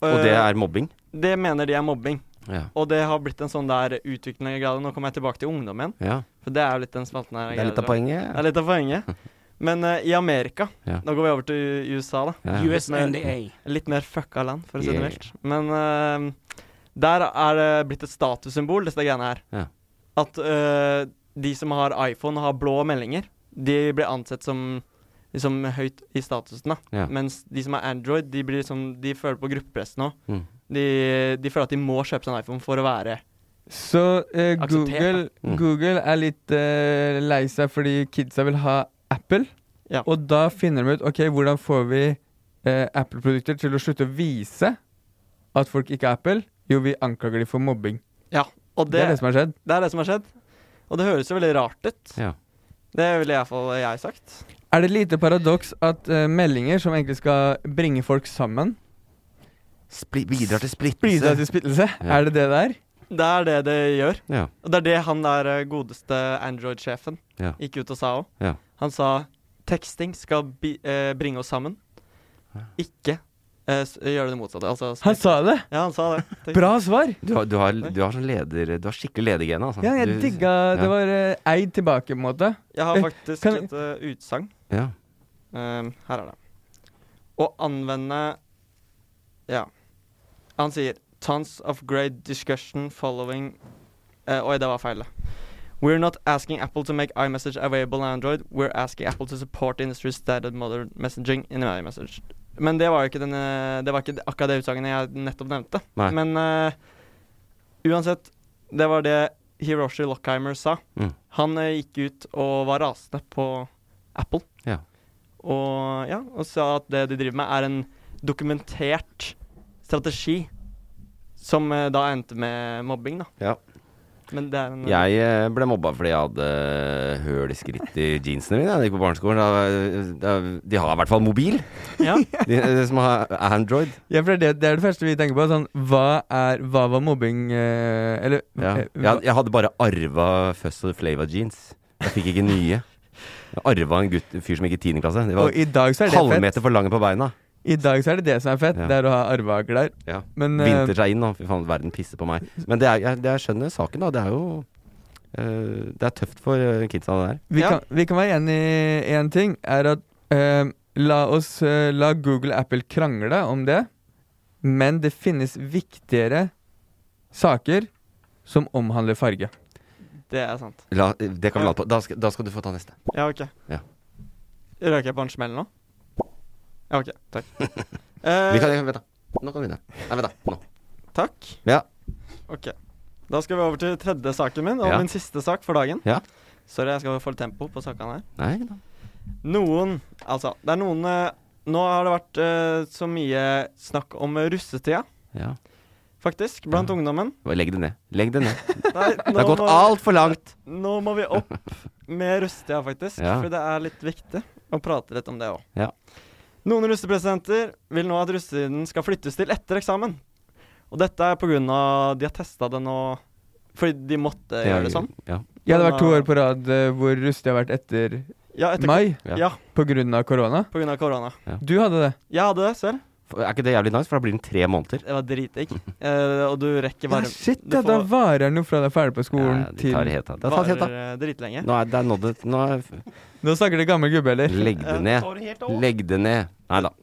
S3: Og det
S5: Eh,
S3: er mobbing?
S5: Det mener de er mobbing.
S3: Ja.
S5: Og det har blitt en sånn der utviklende grad. Nå kommer jeg tilbake til ungdom igjen.
S3: Ja.
S5: For det er jo litt den spalten her. jeg
S3: Det er litt av
S5: greier å-
S3: poenget.
S5: Det er litt av poenget. Men eh, i Amerika
S3: Ja.
S5: Nå går vi over til USA, da.
S3: Ja, ja.
S5: Litt
S3: US
S5: mer-
S3: NDA.
S5: Litt mer fucka land, for å si det
S3: Yeah.
S5: mildt. Men eh, der er det blitt et statussymbol, disse greiene her.
S3: Ja.
S5: At eh, de som har iPhone og har blå meldinger, de blir ansett som liksom, høyt i statusen. da.
S3: Ja.
S5: Mens de som er Android, de, blir, liksom, de føler på gruppepress nå.
S3: Mm.
S5: De, de føler at de må kjøpe seg en iPhone for å være
S4: Så eh,
S5: Akseptert,
S4: Google,
S5: da. Mm.
S4: Google er litt eh, lei seg fordi kidsa vil ha Apple. Og da finner de ut ok, hvordan får vi eh, Apple-produkter til å slutte å vise at folk ikke er Apple. Jo, vi anklager de for mobbing.
S5: Ja, og det,
S4: Det er det som har skjedd.
S5: Det er det som har skjedd. Og det høres jo veldig rart ut.
S3: Ja.
S5: Det ville iallfall jeg sagt.
S4: Er det et lite paradoks at eh, meldinger som egentlig skal bringe folk sammen
S3: Bidrar til splittelse.
S4: Bidrar til splittelse?
S3: Ja.
S4: Er det det der?
S5: Det er det det gjør.
S3: Ja.
S5: Og det er det han der eh, godeste Android-sjefen
S3: Ja.
S5: gikk ut og sa òg.
S3: Ja.
S5: Han sa teksting skal bi eh, bringe oss sammen, ikke eh, s gjøre det motsatte. Altså,
S4: Han sa det?
S5: Ja, han sa det.
S4: Bra svar!
S3: Du har, du har, du har, sånn leder, du har skikkelig ledergene, altså.
S4: Ja, jeg
S3: Du-
S4: digga Det
S3: ja.
S4: var eh, eid tilbake, på en måte.
S5: Jeg har
S4: Eh,
S5: faktisk
S4: kan-
S5: et eh, utsagn.
S3: Ja.
S5: Um, her er det. Å anvende Ja. Han sier Tons of great discussion following eh, Oi, det var feil. det. We're not asking Apple to make iMessage available on Android. We're asking Apple to support the industry's standard modern messaging in iMessage. Men det var jo ikke, den, eh, det var ikke akkurat det utsagnet jeg nettopp nevnte.
S3: Nei.
S5: Men eh, uansett
S10: Det var det Hiroshi Lockheimer sa.
S3: Mm.
S10: Han eh, gikk ut og var rasende på Apple.
S3: Ja.
S10: Og, ja, og sa at det de driver med, er en dokumentert strategi som eh, da endte med mobbing, da.
S3: Ja.
S10: Men det er en
S3: Jeg eh, ble mobba fordi jeg hadde eh, høl i skritt i jeansene mine da jeg gikk på barneskolen. Da, da, de har i hvert fall mobil,
S10: Ja.
S3: de, de som har Android.
S4: Ja, for det, er det- det er det første vi tenker på. Sånn, hva, er, hva var mobbing eh, Eller
S3: Ja.
S4: eh,
S3: Jeg, had- jeg hadde bare arva Fuss og Flava jeans. Jeg fikk ikke nye. Jeg arva en gutt, fyr som gikk i 10. klasse. De var
S4: Og i dag så er det
S3: halvmeter for lange på beina.
S4: I dag så er det det som er fett.
S3: Ja.
S4: Det er å ha arva klær.
S3: Ja.
S4: Men, eh,
S3: Vinter seg inn nå. Fy faen, verden pisser på meg. Men det er, jeg, det jeg skjønner saken, da. Det er jo eh, Det er tøft for eh, kidsa, det der.
S4: Vi, kan, vi kan være enig i én ting, er at eh, la, oss, eh, la Google og Apple krangle om det, men det finnes viktigere saker som omhandler farge.
S10: Det er sant.
S3: La, det kan vi lade på. Da skal, da skal du få ta neste.
S10: Ja, ok.
S3: Ja.
S10: Røk jeg på en smell nå? Ja, ok. Takk. Eh,
S3: Vi kan, vent da. Nå kan vi begynne. Nei, vent, da. Nå.
S10: Takk.
S3: Ja.
S10: Ok. Da skal vi over til tredje saken min, og
S3: Ja.
S10: min siste sak for dagen.
S3: Ja.
S10: Sorry, jeg skal få litt tempo på sakene her.
S3: Nei da.
S10: Noen Altså, det er noen eh, Nå har det vært eh, så mye snakk om russetida,
S3: Ja.
S10: faktisk, blant ungdommen.
S3: Bare Legg det ned. Legg det ned.
S10: Nei,
S3: det har gått altfor langt.
S10: Nå må vi opp med russetida, faktisk.
S3: Ja.
S10: For det er litt viktig å prate litt om det òg.
S3: Ja.
S10: Noen russepresidenter vil nå at russetiden skal flyttes til etter eksamen. Og dette er pga. de har testa det nå fordi de måtte
S4: Ja,
S10: gjøre det sånn.
S3: Ja.
S4: det har vært to år på rad eh, hvor rustig har vært etter,
S10: Ja, etter-
S4: mai
S10: Ja. Ja.
S4: på grunn av korona.
S10: På grunn av korona.
S3: Ja.
S4: Du hadde det.
S10: Jeg hadde det selv.
S3: For Er ikke det jævlig nice? For da blir den tre måneder.
S10: Det var dritdigg. Eh, og du rekker
S4: Ja,
S10: varme
S4: shit,
S10: du
S4: ja, da
S10: får
S4: varer den jo fra du er ferdig på skolen
S3: Ja, de tar
S4: til
S3: helt av. Det har tatt helt av.
S10: varer, eh, dritlenge.
S3: Nå er det er nådd et Nå er
S4: Nå snakker det gammel gubbe, eller?
S3: Legg det ned. Legg det ned. Nei da.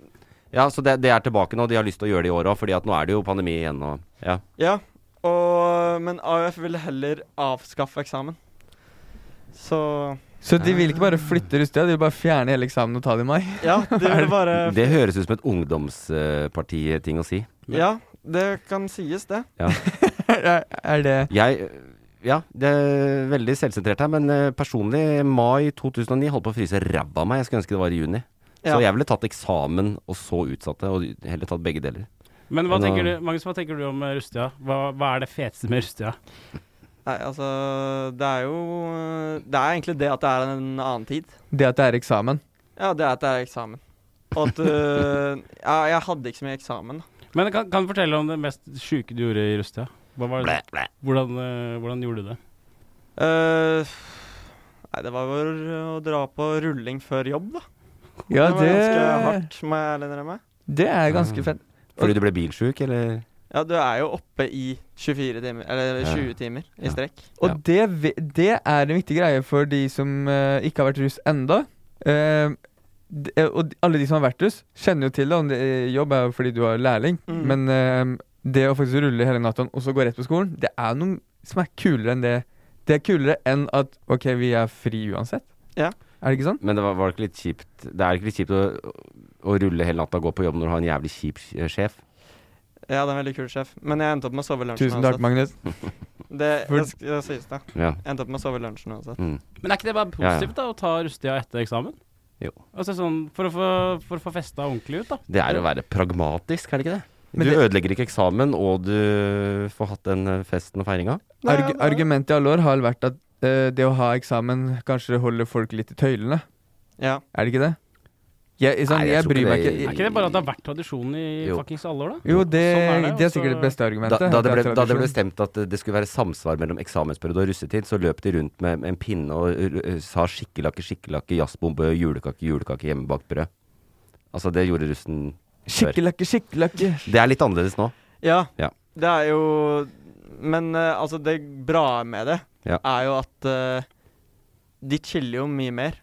S3: Ja, så det, det er tilbake nå. De har lyst til å gjøre det i år òg, Fordi at nå er det jo pandemi igjen og Ja.
S10: Ja, og, men AUF ville heller avskaffe eksamen. Så
S4: Så de vil ikke bare flytte russetida, de vil bare fjerne hele eksamen og ta det i mai.
S10: Ja, de ville bare
S3: Det høres ut som et ungdomspartiting å si.
S10: Ja, det kan sies, det.
S3: Ja.
S4: er det
S3: Jeg Ja, det er veldig selvsentrert her, men eh, personlig, mai 2009 holdt på å fryse ræva av meg. Jeg skulle ønske det var i juni.
S5: Ja.
S3: Så jeg ville tatt eksamen og så utsatte, og heller tatt begge deler.
S5: Men hva
S3: Enn å-
S5: tenker du, Magnus, hva tenker du om eh, russetida? Hva, hva er det feteste med russetida?
S10: Nei, altså Det er jo Det er egentlig det at det er en annen tid.
S4: Det at det er eksamen.
S10: Ja, det er at det er eksamen. Og at øh, ja, Jeg hadde ikke så mye eksamen. da.
S5: Men kan, kan du fortelle om det mest sjuke du gjorde i russetida? Hva var det? Hvordan, eh, hvordan gjorde du det?
S10: Eh, nei, det var jo å dra på rulling før jobb, da.
S4: Ja,
S10: var ganske
S4: det-
S10: hardt, må jeg ærlig innrømme. Mm.
S4: Det er ganske fett.
S3: Fordi du ble bilsjuk, eller?
S10: Ja, du er jo oppe i 24 timer, eller
S4: Ja.
S10: 20 timer i strekk.
S4: Og det, vi- det er en viktig greie for de som eh, ikke har vært russ enda. Eh, d- eh, og d- alle de som har vært russ, kjenner jo til det. Om det eh, jobb er jo fordi du er lærling.
S10: Mm.
S4: Men eh, det å faktisk rulle hele natta og så gå rett på skolen, det er noe som er kulere enn det. Det er kulere enn at OK, vi er fri uansett.
S10: Ja.
S4: Er det ikke sånn?
S3: Men det var, var det ikke litt kjipt Det er ikke litt kjipt å, å rulle hele natta og gå på jobb når du har en jævlig kjip eh, sjef.
S10: Ja, det er en veldig kul sjef. Men jeg endte opp med å sove lunsjen
S3: Tusen takk,
S10: uansett.
S3: Magnus.
S10: Det,
S3: For-
S10: det, sk- det sies, da.
S3: Ja.
S10: Jeg endte opp med å sove lunsjen uansett.
S3: Mm.
S5: Men er ikke det bare
S3: Ja, ja.
S5: positivt da, å ta russetida etter eksamen?
S3: Jo.
S5: Altså sånn, For å få, for å få festa ordentlig ut, da.
S3: Det er å være pragmatisk, er det ikke det?
S4: Men
S3: du
S4: det-
S3: ødelegger ikke eksamen, og du får hatt den eh, festen og feiringa.
S4: Arg argumentet i alle år har vært at eh, det å ha eksamen kanskje holder folk litt i tøylene.
S10: Ja.
S4: Er det ikke det? Jeg, sånn,
S3: Nei,
S4: jeg,
S3: jeg tror
S4: bryr
S3: ikke
S4: meg
S3: det-
S4: ikke
S5: Er ikke det bare at det har vært tradisjon i
S3: Jo.
S5: fuckings alle år, da?
S4: Jo, det,
S5: Sånn
S4: det,
S5: og
S4: er
S5: så-
S4: sikkert det beste argumentet.
S3: Da, da,
S4: at
S3: det
S4: er
S3: ble, da det ble
S4: tradisjon.
S3: bestemt at eh, det skulle være samsvar mellom eksamensperiode og russetid, så løp de rundt med en pinne og eh, sa 'skikkelakke, skikkelakke, jazzbombe, julekake, julekake, hjemmebakt brød'. Altså, det gjorde russen før.
S4: Skikkelakke, skikkelakke.
S3: Det er litt annerledes nå.
S10: Ja,
S3: Ja.
S10: det er jo Men eh, altså, det bra med det
S3: Ja.
S10: er jo at eh, de chiller jo mye mer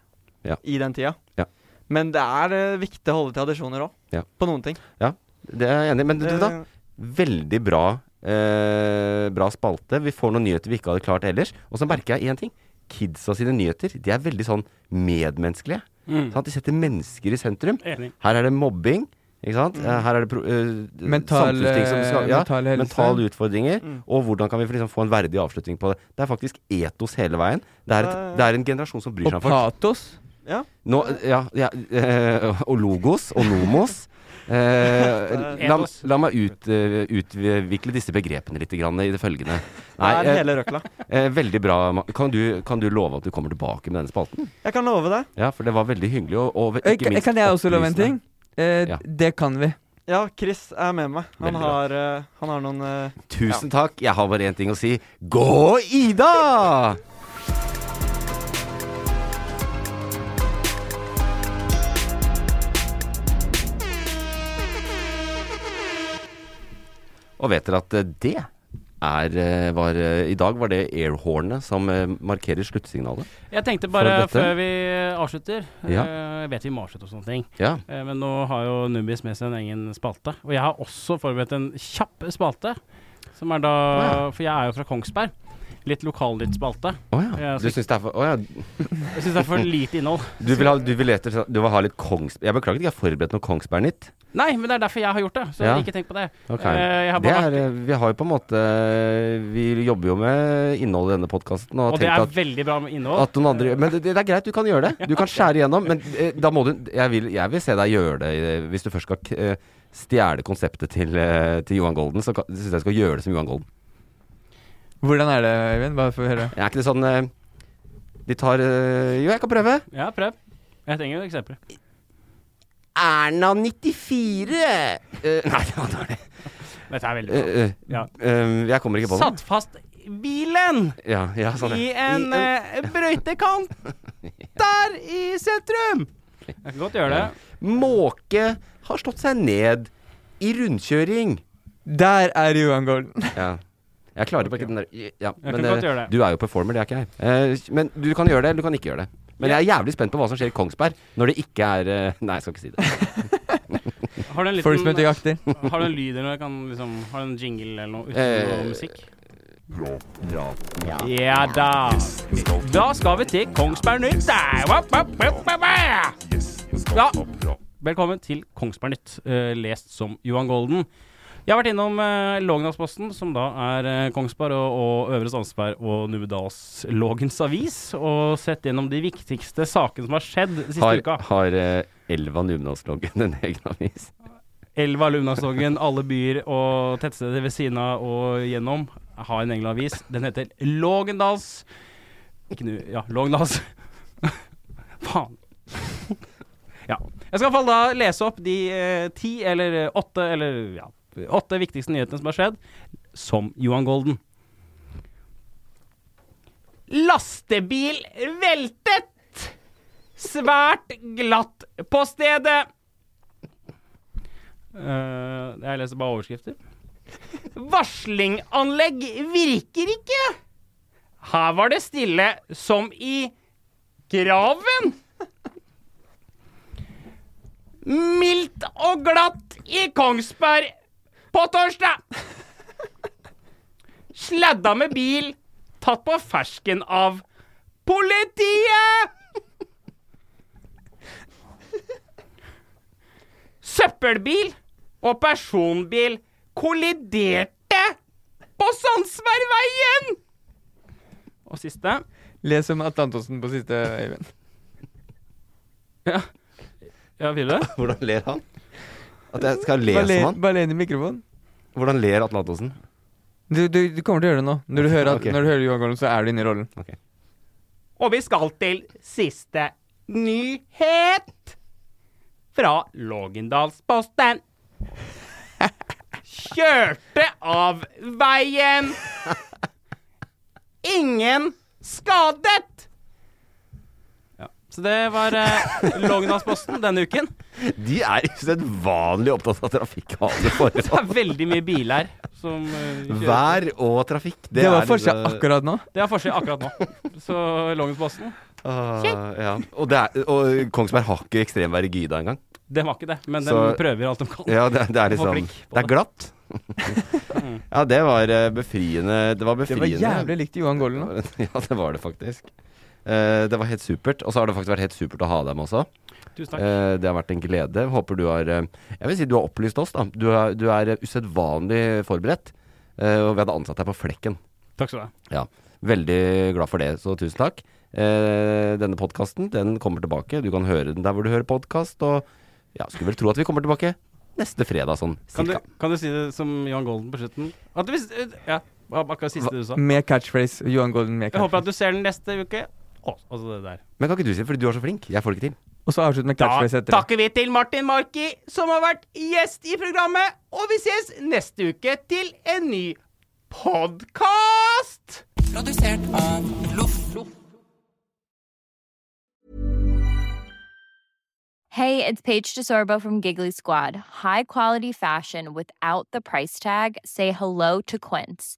S3: Ja.
S10: i den tida.
S3: Ja.
S10: Men det er eh, viktig å holde tradisjoner òg,
S3: Ja.
S10: på noen ting.
S3: Ja, det er jeg enig i. Men du, da, veldig bra, eh, bra spalte. Vi får noen nyheter vi ikke hadde klart ellers. Og så merker jeg én ting. Kidsa sine nyheter de er veldig sånn medmenneskelige.
S5: Mm.
S3: Sant? de setter mennesker i sentrum.
S5: Enig.
S3: Her er det mobbing. Ikke sant? Eh, Her er det pro eh,
S4: Mental,
S3: samfunnsting som skal, ja,
S4: mental helse.
S3: mentale utfordringer.
S4: Mm.
S3: Og hvordan kan vi liksom få en verdig avslutning på det. Det er faktisk etos hele veien. Det er, et, det er en generasjon som bryr seg
S4: Og
S3: om folk.
S4: patos.
S10: Ja.
S3: Nå, ja, ja eh, og logos og nomos. Eh, la,
S10: Etos.
S3: la meg ut, eh, utvikle disse begrepene litt grann i det følgende.
S10: Det er
S3: eh,
S10: hele røkla.
S3: eh, veldig bra. Ma- Kan du, kan du love at du kommer tilbake med denne spalten?
S10: Jeg kan love det.
S3: Ja, for det var veldig hyggelig. Og, og
S4: Eh,
S3: ikke
S4: kan-
S3: minst
S4: Kan jeg også love en
S3: opplysende.
S4: ting? Eh,
S3: Ja.
S4: Det kan vi.
S10: Ja, Chris er med meg. Han,
S3: Veldig bra.
S10: har, eh, han har noen eh,
S3: Tusen takk. Jeg har bare én ting å si. Gå, Ida! Og vet dere at eh, det er eh, var, eh, I dag var det airhornet som eh, markerer sluttsignalet.
S5: Jeg tenkte
S3: For
S5: bare
S3: dette-
S5: før vi avslutter
S3: Ja.
S5: eh, Jeg vet vi må avslutte og sånne ting.
S3: Ja.
S5: Eh, Men nå har jo Nubis med seg en egen spalte. Og jeg har også forberedt en kjapp spalte. Som er da For jeg er jo fra Kongsberg. Litt lokalnyttspalte.
S3: Å ja.
S5: Jeg
S3: Du
S5: skal-
S3: syns det er for Å ja.
S5: Jeg syns det er for lite innhold.
S3: Du vil ha, du vil etter, sånn, du vil ha litt Kongsberg Jeg beklager at jeg ikke har forberedt noe Kongsberg-nytt.
S5: Nei, men det er derfor jeg har gjort det. Så
S3: Ja.
S5: ikke tenk på det.
S3: Ok.
S5: Eh, Jeg har
S3: det
S5: bare
S3: er, eh, vi har jo på en måte Vi jobber jo med innholdet i denne podkasten.
S5: og det er veldig bra med innhold.
S3: at noen andre, men det, det er greit, du kan gjøre det. Du kan skjære igjennom. Men eh, da må du Jeg vil, jeg vil se deg gjøre det eh, hvis du først skal k- eh, stjele konseptet til, eh, til Johan Golden. Så kan- syns jeg du skal gjøre det som Johan Golden.
S4: Hvordan er det, Øyvind? Bare for å høre.
S3: Er ikke det sånn eh, De tar eh, Jo, jeg kan prøve.
S5: Ja, prøv. Jeg trenger jo eksempler.
S3: Erna 94! Eh, nei, det var dårlig.
S5: Dette er veldig bra.
S3: Eh, eh,
S5: Ja.
S3: eh, jeg kommer ikke på det.
S5: Satt fast bilen
S3: Ja, ja, sånn,
S5: i
S3: ja.
S5: en eh, brøytekant der i sentrum! Jeg kan godt gjøre det.
S3: Måke har slått seg ned i rundkjøring.
S4: Der er Johan Golden.
S3: Ja. Jeg klarer på ikke den der ja,
S5: Jeg
S3: men,
S5: kan godt
S3: eh,
S5: gjøre det.
S3: Du er jo performer, det er ikke jeg. Eh, men du kan gjøre det, eller du kan ikke gjøre det. Men jeg er jævlig spent på hva som skjer i Kongsberg når det ikke er eh, Nei, jeg skal ikke si det.
S5: Har du en
S4: Folk som heter
S5: liten
S4: jakter.
S5: Har du en lyd eller noe? Jeg Kan, liksom, har du en jingle eller noe uten
S3: Eh,
S5: noe musikk? Ja da. Da skal vi til Kongsberg Nytt. Da, wap, wap, wap, wap, wap. Ja. Velkommen til Kongsberg Nytt, eh, lest som Johan Golden. Jeg har vært innom uh, Lågendalsposten, som da er eh, Kongsberg og, og Øvre Sandsberg og Numedalslågens avis, og sett gjennom de viktigste sakene som har skjedd siste
S3: Har,
S5: uka.
S3: har eh, Elva Numedalsloggen en egen avis?
S5: Elva, Lundasloggen, alle byer og tettsteder ved siden av og gjennom har en egen avis. Den heter Lågendals Ikke nu... Ja, Lågendals. Faen. ja. Jeg skal i hvert fall da lese opp de eh, ti eller eh, åtte eller ja, åtte viktigste nyhetene som har skjedd, som Johan Golden. Lastebil veltet! Svært glatt på stedet! Eh, jeg leser bare overskrifter. Varslinganlegg virker ikke! Her var det stille som i graven! Mildt og glatt i Kongsberg på torsdag! Sladda med bil, tatt på fersken av politiet! Søppelbil og personbil kolliderte på Sandsbergveien! Og siste
S4: Les om Atle Antonsen på siste, Øyvind.
S5: Ja, ja vil du det?
S3: Hvordan ler han? At jeg skal le
S4: Bare le-
S3: som han?
S4: Bare le inn i mikrofonen.
S3: Hvordan ler Atle Antonsen?
S4: Du, du, du kommer til å gjøre det nå. Når du hører, at,
S3: Ok.
S4: når du hører Johan Golden, så er du inne i rollen.
S5: Og vi skal til siste nyhet fra Lågendalsposten. Kjørte av veien. Ingen skadet. Ja, så det var eh, Lågendalsposten denne uken.
S3: De er usedvanlig opptatt av trafikk. av alle
S5: Det
S3: forhold.
S5: er veldig mye biler som eh, kjører.
S3: Vær og trafikk.
S4: Det, var forskjell akkurat nå.
S5: Det er forskjell akkurat nå. Så Lågendalsposten,
S3: Ah, ja. og, det er, og Kongsberg har ikke ekstremvær i Gyda engang.
S5: den var ikke det, men den
S3: Så-
S5: prøver alt de kan.
S3: Ja, det, det er
S5: De får
S3: liksom
S5: blikk på
S3: Det er glatt. ja, det var eh, befriende. Det var
S4: Det var
S3: befriende.
S4: jævlig likt Johan Golden nå.
S3: Ja, det var det faktisk. Eh, det var helt supert. Og så har det faktisk vært helt supert å ha dem også.
S5: Tusen takk.
S3: Eh, det har vært en glede. Håper du har eh, Jeg vil si du har opplyst oss, da. Du er, du er eh, usedvanlig forberedt. eh, og vi hadde ansatt deg på flekken.
S5: Takk skal du ha.
S3: Ja, Veldig glad for det, så tusen takk. Eh, denne podkasten den kommer tilbake. Du kan høre den der hvor du hører podkast. Og ja, skulle vel tro at vi kommer tilbake neste fredag, sånn
S5: Kan du,
S3: cirka.
S5: kan du si det som Johan Golden på slutten? At hvis, ja, akkurat det siste du sa.
S4: Med catchphrase. Johan Golden med
S5: Jeg håper
S4: catchphrase.
S5: at du ser den neste uke. Å, altså det der.
S3: Men kan ikke du si det, fordi du er så flink? Jeg får det ikke til.
S4: Og så avslutte med catchphrase etter det.
S5: Takker vi til Martin Marki, som har vært gjest i programmet. Og vi ses neste uke til en ny podkast! Produsert av Loff.
S11: Hey, it's Paige DeSorbo from Giggly Squad. High quality fashion without the price tag. Say hello to Quince.